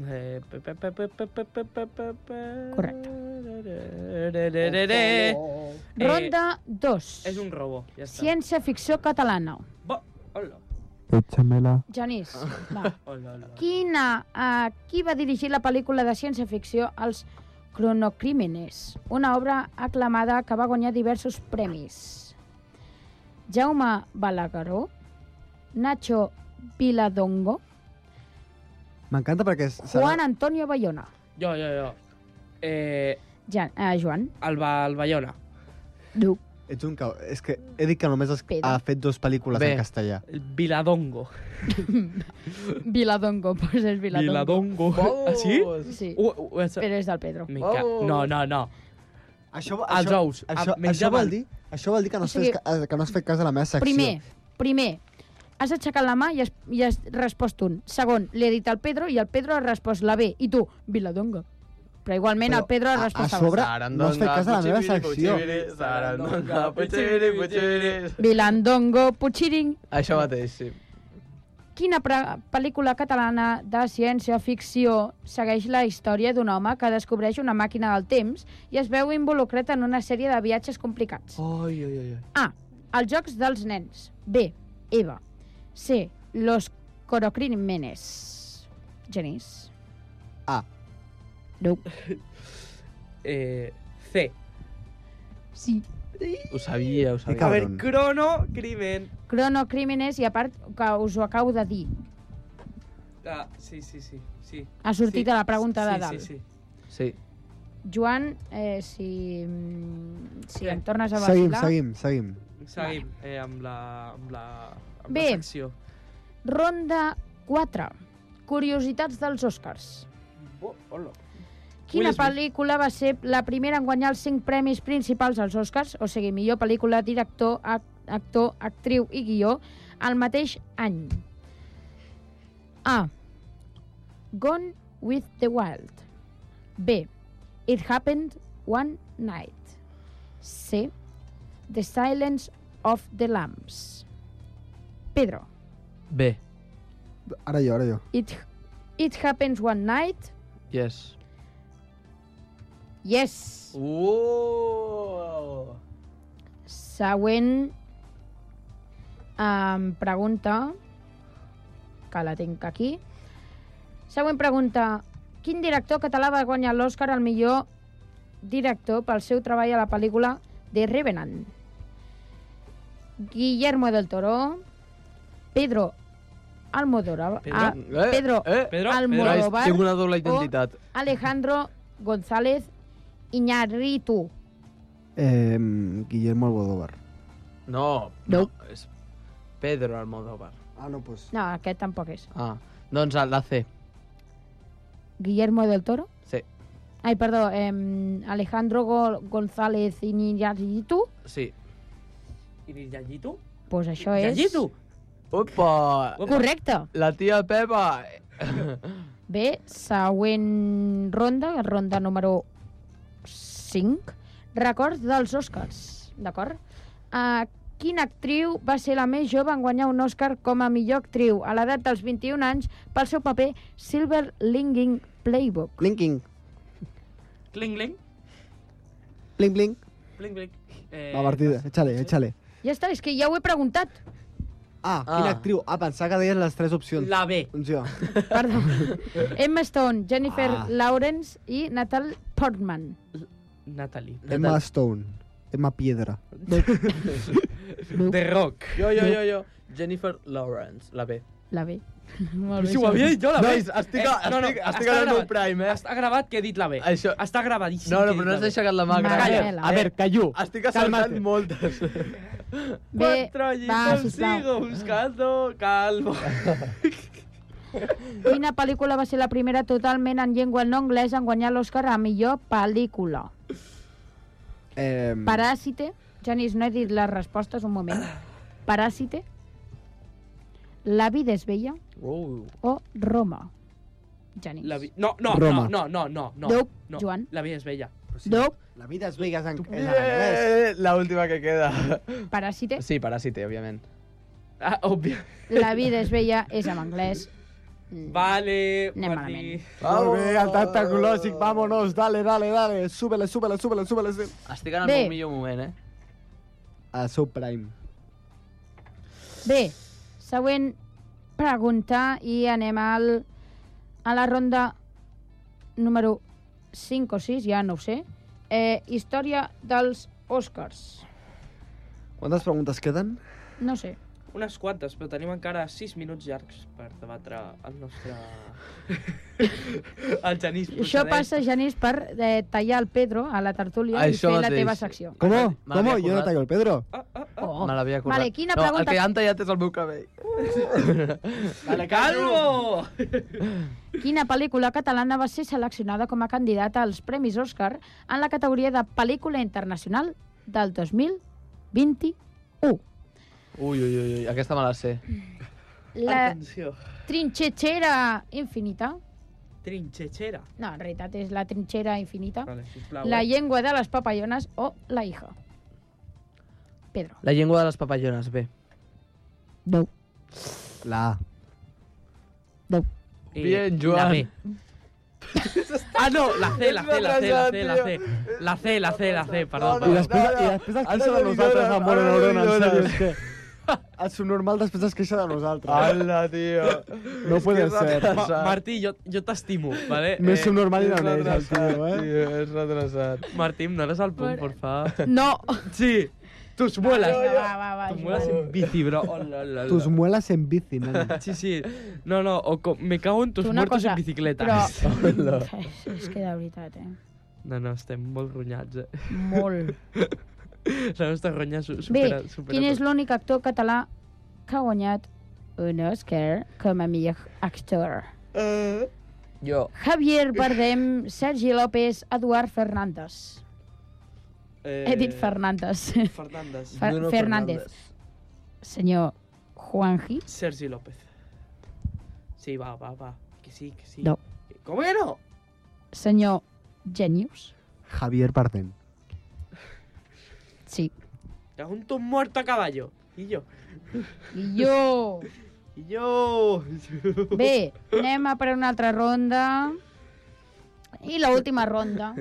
[SPEAKER 6] Eh, pe- pe- pe- pe- pe- pe- pe- pe- pe- pe-
[SPEAKER 10] Correcte.
[SPEAKER 6] Re-re-re-re-re. Eh,
[SPEAKER 10] Ronda 2.
[SPEAKER 6] És un robo, ja està.
[SPEAKER 10] Ciència-ficció catalana.
[SPEAKER 6] Hola.
[SPEAKER 5] Échamela.
[SPEAKER 10] Genís, va.
[SPEAKER 6] Hola, hola.
[SPEAKER 10] Quina, uh, qui va dirigir la pel·lícula de ciència-ficció Els cronocrímenes, una obra aclamada que va guanyar diversos premis? Jaume Balagueró, Nacho Viladongo,
[SPEAKER 5] M'encanta perquè... és-
[SPEAKER 10] Juan Antonio Bayona.
[SPEAKER 6] Jo, jo, jo. Eh,
[SPEAKER 10] Ja, uh, Joan,
[SPEAKER 6] el, ba el Bayona.
[SPEAKER 10] du.
[SPEAKER 5] Ets un cau. És que he dit que només has,
[SPEAKER 10] Pedro.
[SPEAKER 5] ha fet dues pel·lícules
[SPEAKER 6] Bé.
[SPEAKER 5] en castellà.
[SPEAKER 6] El Viladongo.
[SPEAKER 10] Viladongo, pues és Viladongo.
[SPEAKER 6] Viladongo. Ah, sí?
[SPEAKER 10] Sí,
[SPEAKER 6] Uh, uh, uh,
[SPEAKER 10] però és del Pedro.
[SPEAKER 6] Mica. No, no, no.
[SPEAKER 5] Això,
[SPEAKER 6] Els ous.
[SPEAKER 5] Això,
[SPEAKER 6] Ah, menys
[SPEAKER 5] això, vol
[SPEAKER 6] avall.
[SPEAKER 5] dir, això vol dir que no,
[SPEAKER 10] O
[SPEAKER 5] has
[SPEAKER 10] sigui-
[SPEAKER 5] fet, ca- eh, que no has fet cas de la meva secció.
[SPEAKER 10] Primer, primer, has aixecat la mà i has, i has respost un. Segon, li he dit al Pedro i el Pedro ha respost la B. I tu, Viladonga. Però igualment Però el Pedro ha
[SPEAKER 5] a-
[SPEAKER 10] respost
[SPEAKER 5] a
[SPEAKER 10] la B.
[SPEAKER 5] sobre no has fet cas de la meva secció.
[SPEAKER 10] Vilandongo, Puchiring.
[SPEAKER 8] Això mateix, sí.
[SPEAKER 10] Quina pre- pel·lícula catalana de ciència-ficció segueix la història d'un home que descobreix una màquina del temps i es veu involucrat en una sèrie de viatges complicats?
[SPEAKER 8] Ai, ai, ai. ai.
[SPEAKER 10] A. Els jocs dels nens. B. Eva. C. Los corocrímenes. Genís.
[SPEAKER 5] A.
[SPEAKER 10] No.
[SPEAKER 6] Eh, C.
[SPEAKER 10] Sí.
[SPEAKER 8] Ho sabia, ho sabia.
[SPEAKER 6] A veure, crono, crimen.
[SPEAKER 10] Cronocrímenes i a part que us ho acabo de dir.
[SPEAKER 6] Ah, sí, sí, sí. sí.
[SPEAKER 10] Ha sortit
[SPEAKER 6] sí.
[SPEAKER 10] a la pregunta de
[SPEAKER 6] sí,
[SPEAKER 10] dalt.
[SPEAKER 6] Sí, sí,
[SPEAKER 8] Sí.
[SPEAKER 10] Joan, eh, si, mm, si em tornes a
[SPEAKER 5] Seguim,
[SPEAKER 10] vacilar...
[SPEAKER 5] seguim, seguim.
[SPEAKER 6] Seguim eh, amb la... Amb la amb
[SPEAKER 10] Bé.
[SPEAKER 6] la secció.
[SPEAKER 10] Ronda 4. Curiositats dels Oscars.
[SPEAKER 6] Oh, hola.
[SPEAKER 10] Quina
[SPEAKER 6] Will Smith.
[SPEAKER 10] pel·lícula va ser la primera en guanyar els 5 premis principals als Oscars, o sigui, millor pel·lícula, director, ac actor, actriu i guió, el mateix any? A. Gone with the Wild. B. It Happened One Night. C. The Silence of the Lambs. Pedro.
[SPEAKER 8] B.
[SPEAKER 5] Ara jo, ara jo.
[SPEAKER 10] It, it Happens One Night.
[SPEAKER 8] Yes.
[SPEAKER 10] Yes.
[SPEAKER 8] Uh!
[SPEAKER 10] Següent em pregunta, que la tinc aquí. Següent pregunta. Quin director català va guanyar l'Oscar al millor director pel seu treball a la pel·lícula The Revenant? Guillermo del Toro, Pedro Almodóvar,
[SPEAKER 8] Pedro?
[SPEAKER 10] ah,
[SPEAKER 8] Eh,
[SPEAKER 10] Pedro
[SPEAKER 8] eh, Pedro?
[SPEAKER 10] Almodóvar
[SPEAKER 8] Tinc una doble
[SPEAKER 10] o
[SPEAKER 8] identitat.
[SPEAKER 10] Alejandro González Iñárritu.
[SPEAKER 5] Eh, Guillermo Almodóvar.
[SPEAKER 8] No, no. És Pedro Almodóvar.
[SPEAKER 5] Ah, no, pues...
[SPEAKER 10] No, aquest tampoc és.
[SPEAKER 8] Ah, doncs el- la C.
[SPEAKER 10] Guillermo del Toro.
[SPEAKER 8] Sí,
[SPEAKER 10] Ai, perdó, em, Alejandro Go- González Iñárritu.
[SPEAKER 8] sí.
[SPEAKER 6] I Llallitu?
[SPEAKER 10] Pues això és...
[SPEAKER 6] Llallitu?
[SPEAKER 8] Opa!
[SPEAKER 10] Correcte.
[SPEAKER 8] La tia Pepa!
[SPEAKER 10] Bé, següent ronda, ronda número 5. Records dels Oscars, d'acord? Uh, quina actriu va ser la més jove en guanyar un Oscar com a millor actriu a l'edat dels 21 anys pel seu paper Silver Linking Playbook?
[SPEAKER 5] Linking.
[SPEAKER 6] Cling, cling,
[SPEAKER 5] Bling, bling.
[SPEAKER 6] cling, cling. Eh,
[SPEAKER 5] Va, partida. Échale, échale.
[SPEAKER 10] Ja està, és que ja ho he preguntat.
[SPEAKER 5] Ah, quina actriu? Ah, pensava que deies les tres opcions.
[SPEAKER 6] La B.
[SPEAKER 5] Doncs jo.
[SPEAKER 10] Perdó. Emma Stone, Jennifer
[SPEAKER 5] Ah.
[SPEAKER 10] Lawrence i Natalie Portman.
[SPEAKER 6] Natalie.
[SPEAKER 5] Emma Stone. Emma Piedra.
[SPEAKER 6] The Rock.
[SPEAKER 8] Jo, jo, jo, jo. Jennifer Lawrence, la B.
[SPEAKER 10] La B. Molt
[SPEAKER 8] Però
[SPEAKER 10] bé,
[SPEAKER 8] si ho havia dit jo, la B.
[SPEAKER 10] Nois,
[SPEAKER 8] estic,
[SPEAKER 6] Eh,
[SPEAKER 8] a- estic, estic en el meu prime, eh?
[SPEAKER 6] Està gravat que he dit la B.
[SPEAKER 8] Això-
[SPEAKER 6] Està gravadíssim.
[SPEAKER 8] No,
[SPEAKER 6] que he
[SPEAKER 8] no, però
[SPEAKER 6] dit
[SPEAKER 8] no has
[SPEAKER 6] B.
[SPEAKER 8] deixat la mà gran.
[SPEAKER 6] Calla.
[SPEAKER 5] callú.
[SPEAKER 8] Estic assaltant moltes.
[SPEAKER 10] Bé,
[SPEAKER 6] Cuatro
[SPEAKER 10] va,
[SPEAKER 6] añitos
[SPEAKER 10] sisplau.
[SPEAKER 6] sigo buscando calvo.
[SPEAKER 10] Quina pel·lícula va ser la primera totalment en llengua no anglesa en guanyar l'Oscar a millor pel·lícula?
[SPEAKER 5] Eh,
[SPEAKER 10] Paràsite. Genís, no he dit les respostes, un moment. Paràsite. La vida és vella
[SPEAKER 8] Uh.
[SPEAKER 10] o Roma? Genís.
[SPEAKER 6] La vi- No, no,
[SPEAKER 5] Roma.
[SPEAKER 6] no, no, no, no.
[SPEAKER 10] Deu,
[SPEAKER 6] no.
[SPEAKER 10] Joan.
[SPEAKER 6] La vida és bella.
[SPEAKER 10] No,
[SPEAKER 5] La vida es vega en, en anglès.
[SPEAKER 8] Eh, la última que queda.
[SPEAKER 10] Paràsite.
[SPEAKER 8] Sí, Parásite, òbviament.
[SPEAKER 6] Ah, òbvia.
[SPEAKER 10] La vida és vella és en anglès.
[SPEAKER 6] Vale,
[SPEAKER 10] Anem
[SPEAKER 6] Martí.
[SPEAKER 5] Molt bé, el tantaclòsic, vámonos, dale, dale, dale, súbele, súbele, súbele, súbele. sí.
[SPEAKER 8] Estic en el
[SPEAKER 10] Bé.
[SPEAKER 8] meu millor moment, eh?
[SPEAKER 5] A seu prime.
[SPEAKER 10] Bé, següent pregunta i anem al, a la ronda número 5 o 6, ja no ho sé. Eh, història dels Oscars.
[SPEAKER 5] Quantes preguntes queden?
[SPEAKER 10] No sé.
[SPEAKER 6] Unes quantes, però tenim encara 6 minuts llargs per debatre el nostre... el Genís
[SPEAKER 10] Això
[SPEAKER 6] procedeix.
[SPEAKER 10] passa, Genís, per eh, tallar el Pedro a la tertúlia
[SPEAKER 8] Ah, Això
[SPEAKER 10] i fer
[SPEAKER 8] mateix.
[SPEAKER 10] la teva secció.
[SPEAKER 5] Com?
[SPEAKER 8] Me l'havia
[SPEAKER 5] Com? Jo no
[SPEAKER 8] acordat.
[SPEAKER 5] tallo el Pedro.
[SPEAKER 10] Oh.
[SPEAKER 8] Me l'havia acordat.
[SPEAKER 10] Vale, quina
[SPEAKER 8] no,
[SPEAKER 10] pregunta-
[SPEAKER 8] el que han tallat és el meu cabell.
[SPEAKER 5] Dale,
[SPEAKER 6] Calvo!
[SPEAKER 10] Quina pel·lícula catalana va ser seleccionada com a candidata als Premis Òscar en la categoria de pel·lícula internacional del 2021?
[SPEAKER 8] Ah, Ui, ui, ui, ui, aquesta me la sé.
[SPEAKER 10] La
[SPEAKER 8] doncs.
[SPEAKER 6] Atenció.
[SPEAKER 10] trinxetxera infinita.
[SPEAKER 6] Trinxetxera.
[SPEAKER 10] No, en realitat és la trinxera infinita.
[SPEAKER 6] Vale, sisplau.
[SPEAKER 10] La
[SPEAKER 6] eh?
[SPEAKER 10] llengua de les papallones o la hija. Pedro.
[SPEAKER 8] La llengua de les papallones, bé.
[SPEAKER 10] No.
[SPEAKER 5] La A.
[SPEAKER 6] Eh,
[SPEAKER 8] Bien,
[SPEAKER 6] La
[SPEAKER 8] Joan.
[SPEAKER 6] B. ah, no, la C, la C, la C, la C, la C. La C, la C, la C, perdó.
[SPEAKER 5] I
[SPEAKER 6] perdó.
[SPEAKER 5] després, i després es queixa de nosaltres,
[SPEAKER 8] milloren,
[SPEAKER 5] amor,
[SPEAKER 8] ara
[SPEAKER 5] no, no, en
[SPEAKER 8] milloren.
[SPEAKER 5] sèrio, és que... El subnormal després es queixa de nosaltres.
[SPEAKER 8] Hola, tio.
[SPEAKER 5] No puede ser.
[SPEAKER 6] Ma Martí, jo, jo t'estimo, vale? Eh,
[SPEAKER 5] No és subnormal i no
[SPEAKER 8] és
[SPEAKER 5] neix, el tio,
[SPEAKER 8] retrasat,
[SPEAKER 5] eh?
[SPEAKER 8] tio, és retrasat.
[SPEAKER 6] Martí, em dones el punt, por favor.
[SPEAKER 10] No.
[SPEAKER 6] Sí, tus muelas.
[SPEAKER 10] Va, va, va,
[SPEAKER 6] Tus muelas
[SPEAKER 10] Joan.
[SPEAKER 6] en Oh, bici, bro. Hola, hola,
[SPEAKER 5] Tus
[SPEAKER 6] hola.
[SPEAKER 5] muelas en bici, nano.
[SPEAKER 6] Sí, sí. No, no, o com, me cago en tus
[SPEAKER 10] Una
[SPEAKER 6] muertos
[SPEAKER 10] cosa,
[SPEAKER 6] en bicicleta.
[SPEAKER 10] Però... És, és que de veritat, eh?
[SPEAKER 6] No, no, estem molt ronyats, eh?
[SPEAKER 10] Molt.
[SPEAKER 6] La nostra ronya su
[SPEAKER 10] Bé,
[SPEAKER 6] supera... supera
[SPEAKER 10] quin és
[SPEAKER 6] tot.
[SPEAKER 10] l'únic actor català que ha guanyat un Oscar com a millor actor?
[SPEAKER 6] Eh, Oh.
[SPEAKER 8] Jo.
[SPEAKER 10] Javier Bardem, Sergi López, Eduard Fernández.
[SPEAKER 6] Eh,
[SPEAKER 10] He dit Fernández.
[SPEAKER 6] Fernández.
[SPEAKER 10] Fer-
[SPEAKER 8] Bruno
[SPEAKER 10] Fernández. Senyor Juanji.
[SPEAKER 6] Sergi López. Sí, va, va, va. Que sí, que sí.
[SPEAKER 10] No.
[SPEAKER 6] ¿Cómo que no?
[SPEAKER 10] Senyor Genius.
[SPEAKER 5] Javier Bardem.
[SPEAKER 10] Sí.
[SPEAKER 6] Cago en tu muerto a caballo. Y yo.
[SPEAKER 10] I jo...
[SPEAKER 6] Y yo.
[SPEAKER 10] Bé, anem a per una altra ronda. I la última ronda.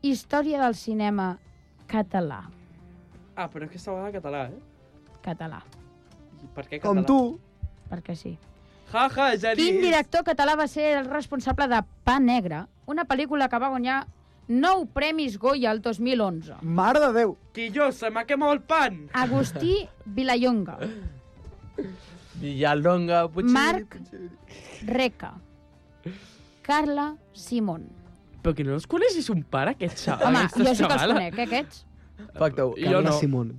[SPEAKER 10] Història del cinema català.
[SPEAKER 6] Ah, però és que estava en català, eh?
[SPEAKER 10] Català,
[SPEAKER 6] I per què
[SPEAKER 5] Com
[SPEAKER 6] català?
[SPEAKER 5] tu.
[SPEAKER 10] perquè sí.
[SPEAKER 6] Ja, ja, ja
[SPEAKER 10] Quin director català va ser el responsable de Pa Negre, una pel·lícula que va guanyar nou premis Goya el 2011?
[SPEAKER 5] Mare de Déu.
[SPEAKER 6] Que jo, se m'ha quemat el pan.
[SPEAKER 10] Agustí Vilallonga,
[SPEAKER 8] Villalonga, Puigdemont.
[SPEAKER 10] Marc Reca, Carla Simón.
[SPEAKER 6] Però que no els coneixis un pare, aquest xaval.
[SPEAKER 10] Home,
[SPEAKER 6] Ah, aquesta
[SPEAKER 10] jo sí que els
[SPEAKER 6] xavala.
[SPEAKER 10] conec, eh, aquests.
[SPEAKER 8] Pacte-ho.
[SPEAKER 6] Jo
[SPEAKER 5] Carla
[SPEAKER 6] no.
[SPEAKER 5] Simón.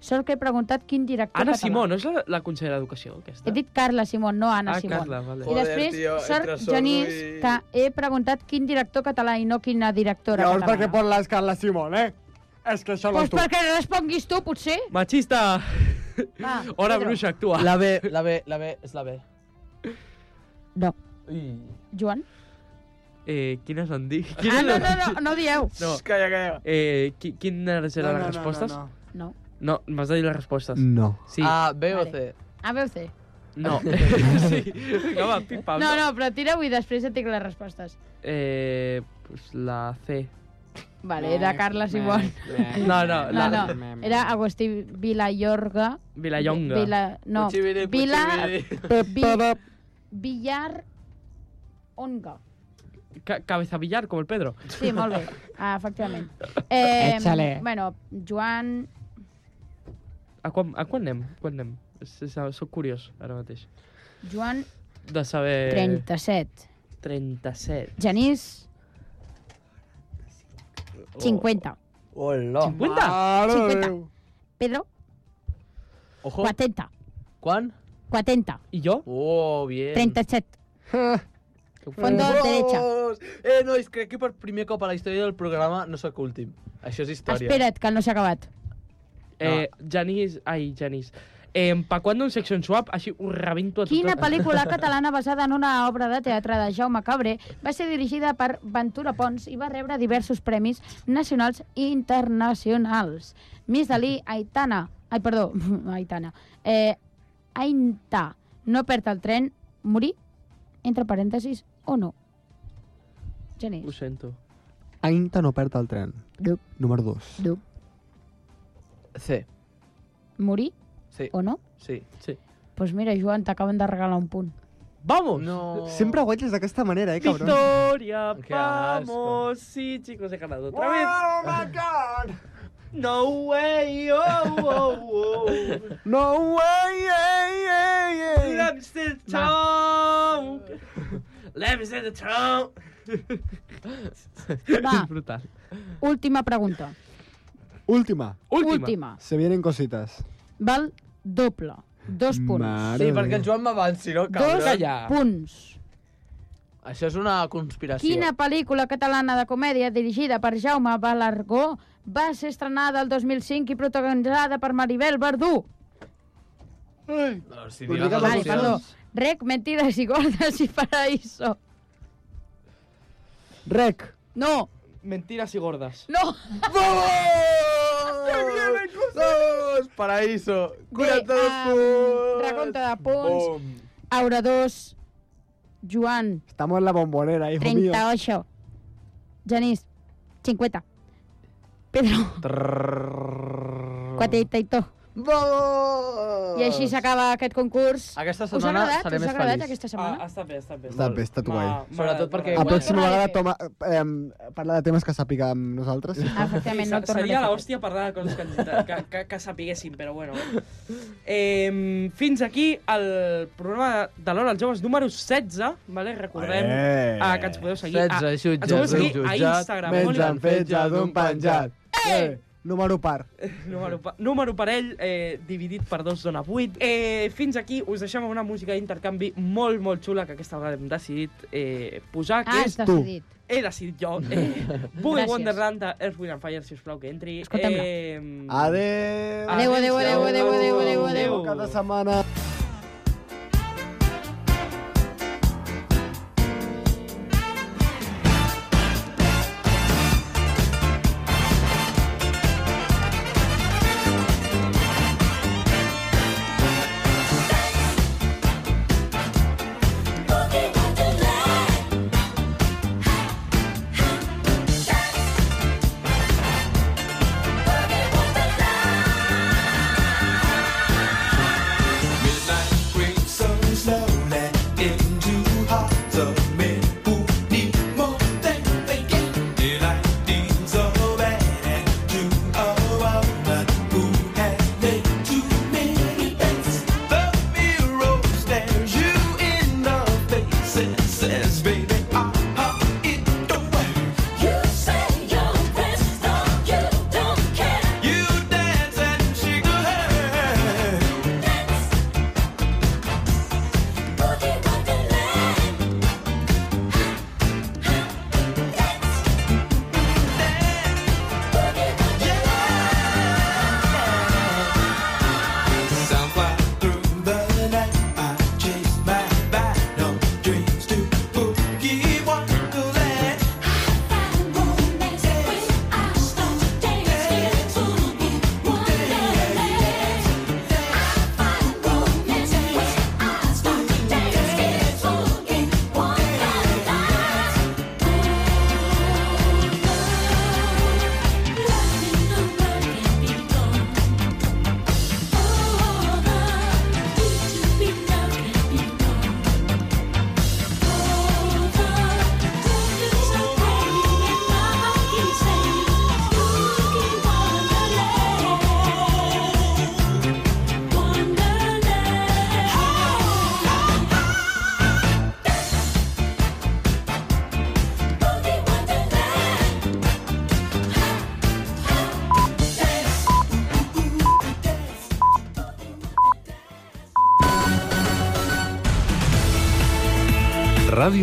[SPEAKER 10] Sort que he preguntat quin director
[SPEAKER 6] Ana
[SPEAKER 10] català.
[SPEAKER 6] Simó, no és la, la consellera d'Educació, aquesta?
[SPEAKER 10] He dit Carla Simón, no Anna
[SPEAKER 6] eh? ah,
[SPEAKER 10] Simón.
[SPEAKER 6] Carla, vale.
[SPEAKER 10] I
[SPEAKER 8] Joder,
[SPEAKER 10] després,
[SPEAKER 8] tio,
[SPEAKER 10] sort,
[SPEAKER 8] entre sordo
[SPEAKER 10] Genís,
[SPEAKER 8] i-
[SPEAKER 10] que he preguntat quin director català i no quina directora
[SPEAKER 5] Llavors, per què
[SPEAKER 10] catalana.
[SPEAKER 5] poses Carla Simón, eh? És que això no
[SPEAKER 10] Doncs
[SPEAKER 5] és tu.
[SPEAKER 10] perquè responguis tu, potser.
[SPEAKER 6] Machista!
[SPEAKER 10] Va,
[SPEAKER 6] Hora
[SPEAKER 10] Pedro.
[SPEAKER 6] bruixa, actua.
[SPEAKER 8] La B, la B, la B, és la B.
[SPEAKER 10] No.
[SPEAKER 8] Ui.
[SPEAKER 10] Joan?
[SPEAKER 6] Eh, quines han dit?
[SPEAKER 10] Ah, no, no, no, no dieu.
[SPEAKER 6] No.
[SPEAKER 8] Calla, calla.
[SPEAKER 6] Eh, qui, quines
[SPEAKER 5] No,
[SPEAKER 6] eren
[SPEAKER 5] no,
[SPEAKER 6] les
[SPEAKER 5] no,
[SPEAKER 6] respostes?
[SPEAKER 5] no, Mm. no.
[SPEAKER 10] No.
[SPEAKER 6] No, m'has de dir les respostes.
[SPEAKER 5] No.
[SPEAKER 6] Sí.
[SPEAKER 8] A, B o C.
[SPEAKER 10] A, B o C?
[SPEAKER 6] No. sí. Vinga, va, pim-pam.
[SPEAKER 10] No, no, però tira-ho i després et dic les respostes.
[SPEAKER 6] Eh, pues la
[SPEAKER 10] Eh.
[SPEAKER 6] C.
[SPEAKER 10] Vale, era Carla Simón.
[SPEAKER 6] No, no,
[SPEAKER 10] No,
[SPEAKER 6] la...
[SPEAKER 10] no, era Agustí Vilayorga.
[SPEAKER 6] Vilallonga.
[SPEAKER 10] Vila, no,
[SPEAKER 6] Puchibiri,
[SPEAKER 10] Vila...
[SPEAKER 6] puchibiri.
[SPEAKER 10] Vi, Villar... Onga.
[SPEAKER 6] Ca cabeza billar, com el Pedro.
[SPEAKER 10] Sí, molt bé, ah, efectivament. Eh,
[SPEAKER 6] Échale.
[SPEAKER 10] Bueno, Joan...
[SPEAKER 6] A quan, a quan anem? Quan anem? S- s- Soc curiós, ara mateix.
[SPEAKER 10] Joan
[SPEAKER 6] De saber...
[SPEAKER 10] 37.
[SPEAKER 6] 37.
[SPEAKER 10] Genís... 50.
[SPEAKER 8] Hola.
[SPEAKER 6] 50?
[SPEAKER 10] Ah. 50. Pedro,
[SPEAKER 8] Ojo.
[SPEAKER 10] 40.
[SPEAKER 8] Quan?
[SPEAKER 10] 40.
[SPEAKER 6] I jo?
[SPEAKER 8] Oh, bien.
[SPEAKER 10] 37. Fondo
[SPEAKER 8] Vamos!
[SPEAKER 10] derecha.
[SPEAKER 8] Eh, nois, crec que per primer cop a la història del programa no sóc últim. Això és història.
[SPEAKER 10] Espera't, que no s'ha acabat.
[SPEAKER 6] Eh, Janís... Ai, Janís. Eh, pa quan d'un section swap, així ho rebento a tothom.
[SPEAKER 10] Quina pel·lícula catalana basada en una obra de teatre de Jaume Cabré va ser dirigida per Ventura Pons i va rebre diversos premis nacionals i internacionals? Miss Dalí, Aitana... Ai, perdó, Aitana. Eh, Ainta, no perd el tren, morir, entre parèntesis, o no? Genís.
[SPEAKER 6] Ho sento.
[SPEAKER 5] Ainta no perd el tren.
[SPEAKER 10] Dup.
[SPEAKER 5] Número 2.
[SPEAKER 10] Dup.
[SPEAKER 8] C.
[SPEAKER 10] Morir
[SPEAKER 8] Sí.
[SPEAKER 10] o no?
[SPEAKER 8] Sí. Sí.
[SPEAKER 10] Doncs pues mira, Joan, t'acaben de regalar un punt.
[SPEAKER 6] Vamos!
[SPEAKER 8] No.
[SPEAKER 5] Sempre guanyes d'aquesta manera, eh, cabrón.
[SPEAKER 6] Victoria,
[SPEAKER 5] Qué asco.
[SPEAKER 6] vamos, sí, chicos, he ganado otra vez. Oh my god! No way, oh, oh, oh.
[SPEAKER 5] No way, yeah, yeah, yeah.
[SPEAKER 6] Let me see the tongue. Let me see the tongue.
[SPEAKER 10] Va.
[SPEAKER 6] És brutal.
[SPEAKER 10] Última pregunta.
[SPEAKER 5] Última.
[SPEAKER 10] Última. Última.
[SPEAKER 5] Se vienen cositas.
[SPEAKER 10] Val doble. Dos punts.
[SPEAKER 5] Mare
[SPEAKER 8] Sí,
[SPEAKER 5] de
[SPEAKER 8] perquè en Joan m'avanci, no? Cabrón.
[SPEAKER 10] Dos punts.
[SPEAKER 8] Això és una conspiració.
[SPEAKER 10] Quina pel·lícula catalana de comèdia dirigida per Jaume Balargó va ser estrenada el 2005 i protagonitzada per Maribel Verdú?
[SPEAKER 8] Ai. No, si
[SPEAKER 10] Vale, perdó. Rec, mentides i gordes i paraíso.
[SPEAKER 5] Rec.
[SPEAKER 10] No.
[SPEAKER 6] Mentiras y gordas.
[SPEAKER 10] No.
[SPEAKER 8] Dos, paraíso. 42 punts.
[SPEAKER 10] Recompte de punts.
[SPEAKER 8] Bom.
[SPEAKER 10] Aura 2. Joan,
[SPEAKER 5] Estamos en la bombonera, hijo mío.
[SPEAKER 10] 38. Genís, 50. Pedro, 42.
[SPEAKER 8] Vamos!
[SPEAKER 10] I així s'acaba aquest concurs.
[SPEAKER 8] Aquesta
[SPEAKER 10] Us ha
[SPEAKER 8] setmana
[SPEAKER 10] agradat?
[SPEAKER 8] seré
[SPEAKER 10] Us
[SPEAKER 8] més
[SPEAKER 10] ha agradat
[SPEAKER 8] feliç.
[SPEAKER 10] aquesta setmana?
[SPEAKER 6] Ah, està bé, està bé.
[SPEAKER 5] Està bé, està guai.
[SPEAKER 8] Sobretot perquè...
[SPEAKER 5] La pròxima vegada toma, eh, parla de em, temes que sàpiga amb nosaltres.
[SPEAKER 10] Efectivament,
[SPEAKER 6] no
[SPEAKER 10] no tornaré
[SPEAKER 6] Seria
[SPEAKER 10] a fer.
[SPEAKER 6] l'hòstia parlar de coses que, ens- que, que, que sapiguessin, però bueno. Eh, fins aquí el programa de l'Hora als Joves número 16, vale? recordem
[SPEAKER 8] Eh.
[SPEAKER 6] eh, que ens podeu seguir, a,
[SPEAKER 8] 16
[SPEAKER 6] ens podeu
[SPEAKER 8] jutges,
[SPEAKER 6] seguir
[SPEAKER 8] un
[SPEAKER 6] a
[SPEAKER 8] jutjat,
[SPEAKER 6] Instagram.
[SPEAKER 8] menys
[SPEAKER 6] Only-
[SPEAKER 8] en fetge d'un penjat.
[SPEAKER 5] Eh! Número par.
[SPEAKER 6] Número, pa- número parell eh, dividit per dos dona 8. Eh, fins aquí us deixem amb una música d'intercanvi molt, molt xula que aquesta vegada hem decidit eh, posar. Que
[SPEAKER 10] Has
[SPEAKER 6] és
[SPEAKER 10] decidit.
[SPEAKER 6] He decidit jo. Eh, Boogie
[SPEAKER 10] Gràcies.
[SPEAKER 6] Wonderland de Earth, Wind and Fire, si us plau, que entri.
[SPEAKER 10] Escoltem-la.
[SPEAKER 5] Ah, Adeu.
[SPEAKER 10] Adeu, adeu, adeu, adeu, adeu, adeu, adeu.
[SPEAKER 5] Cada setmana.
[SPEAKER 14] Miss
[SPEAKER 1] Radio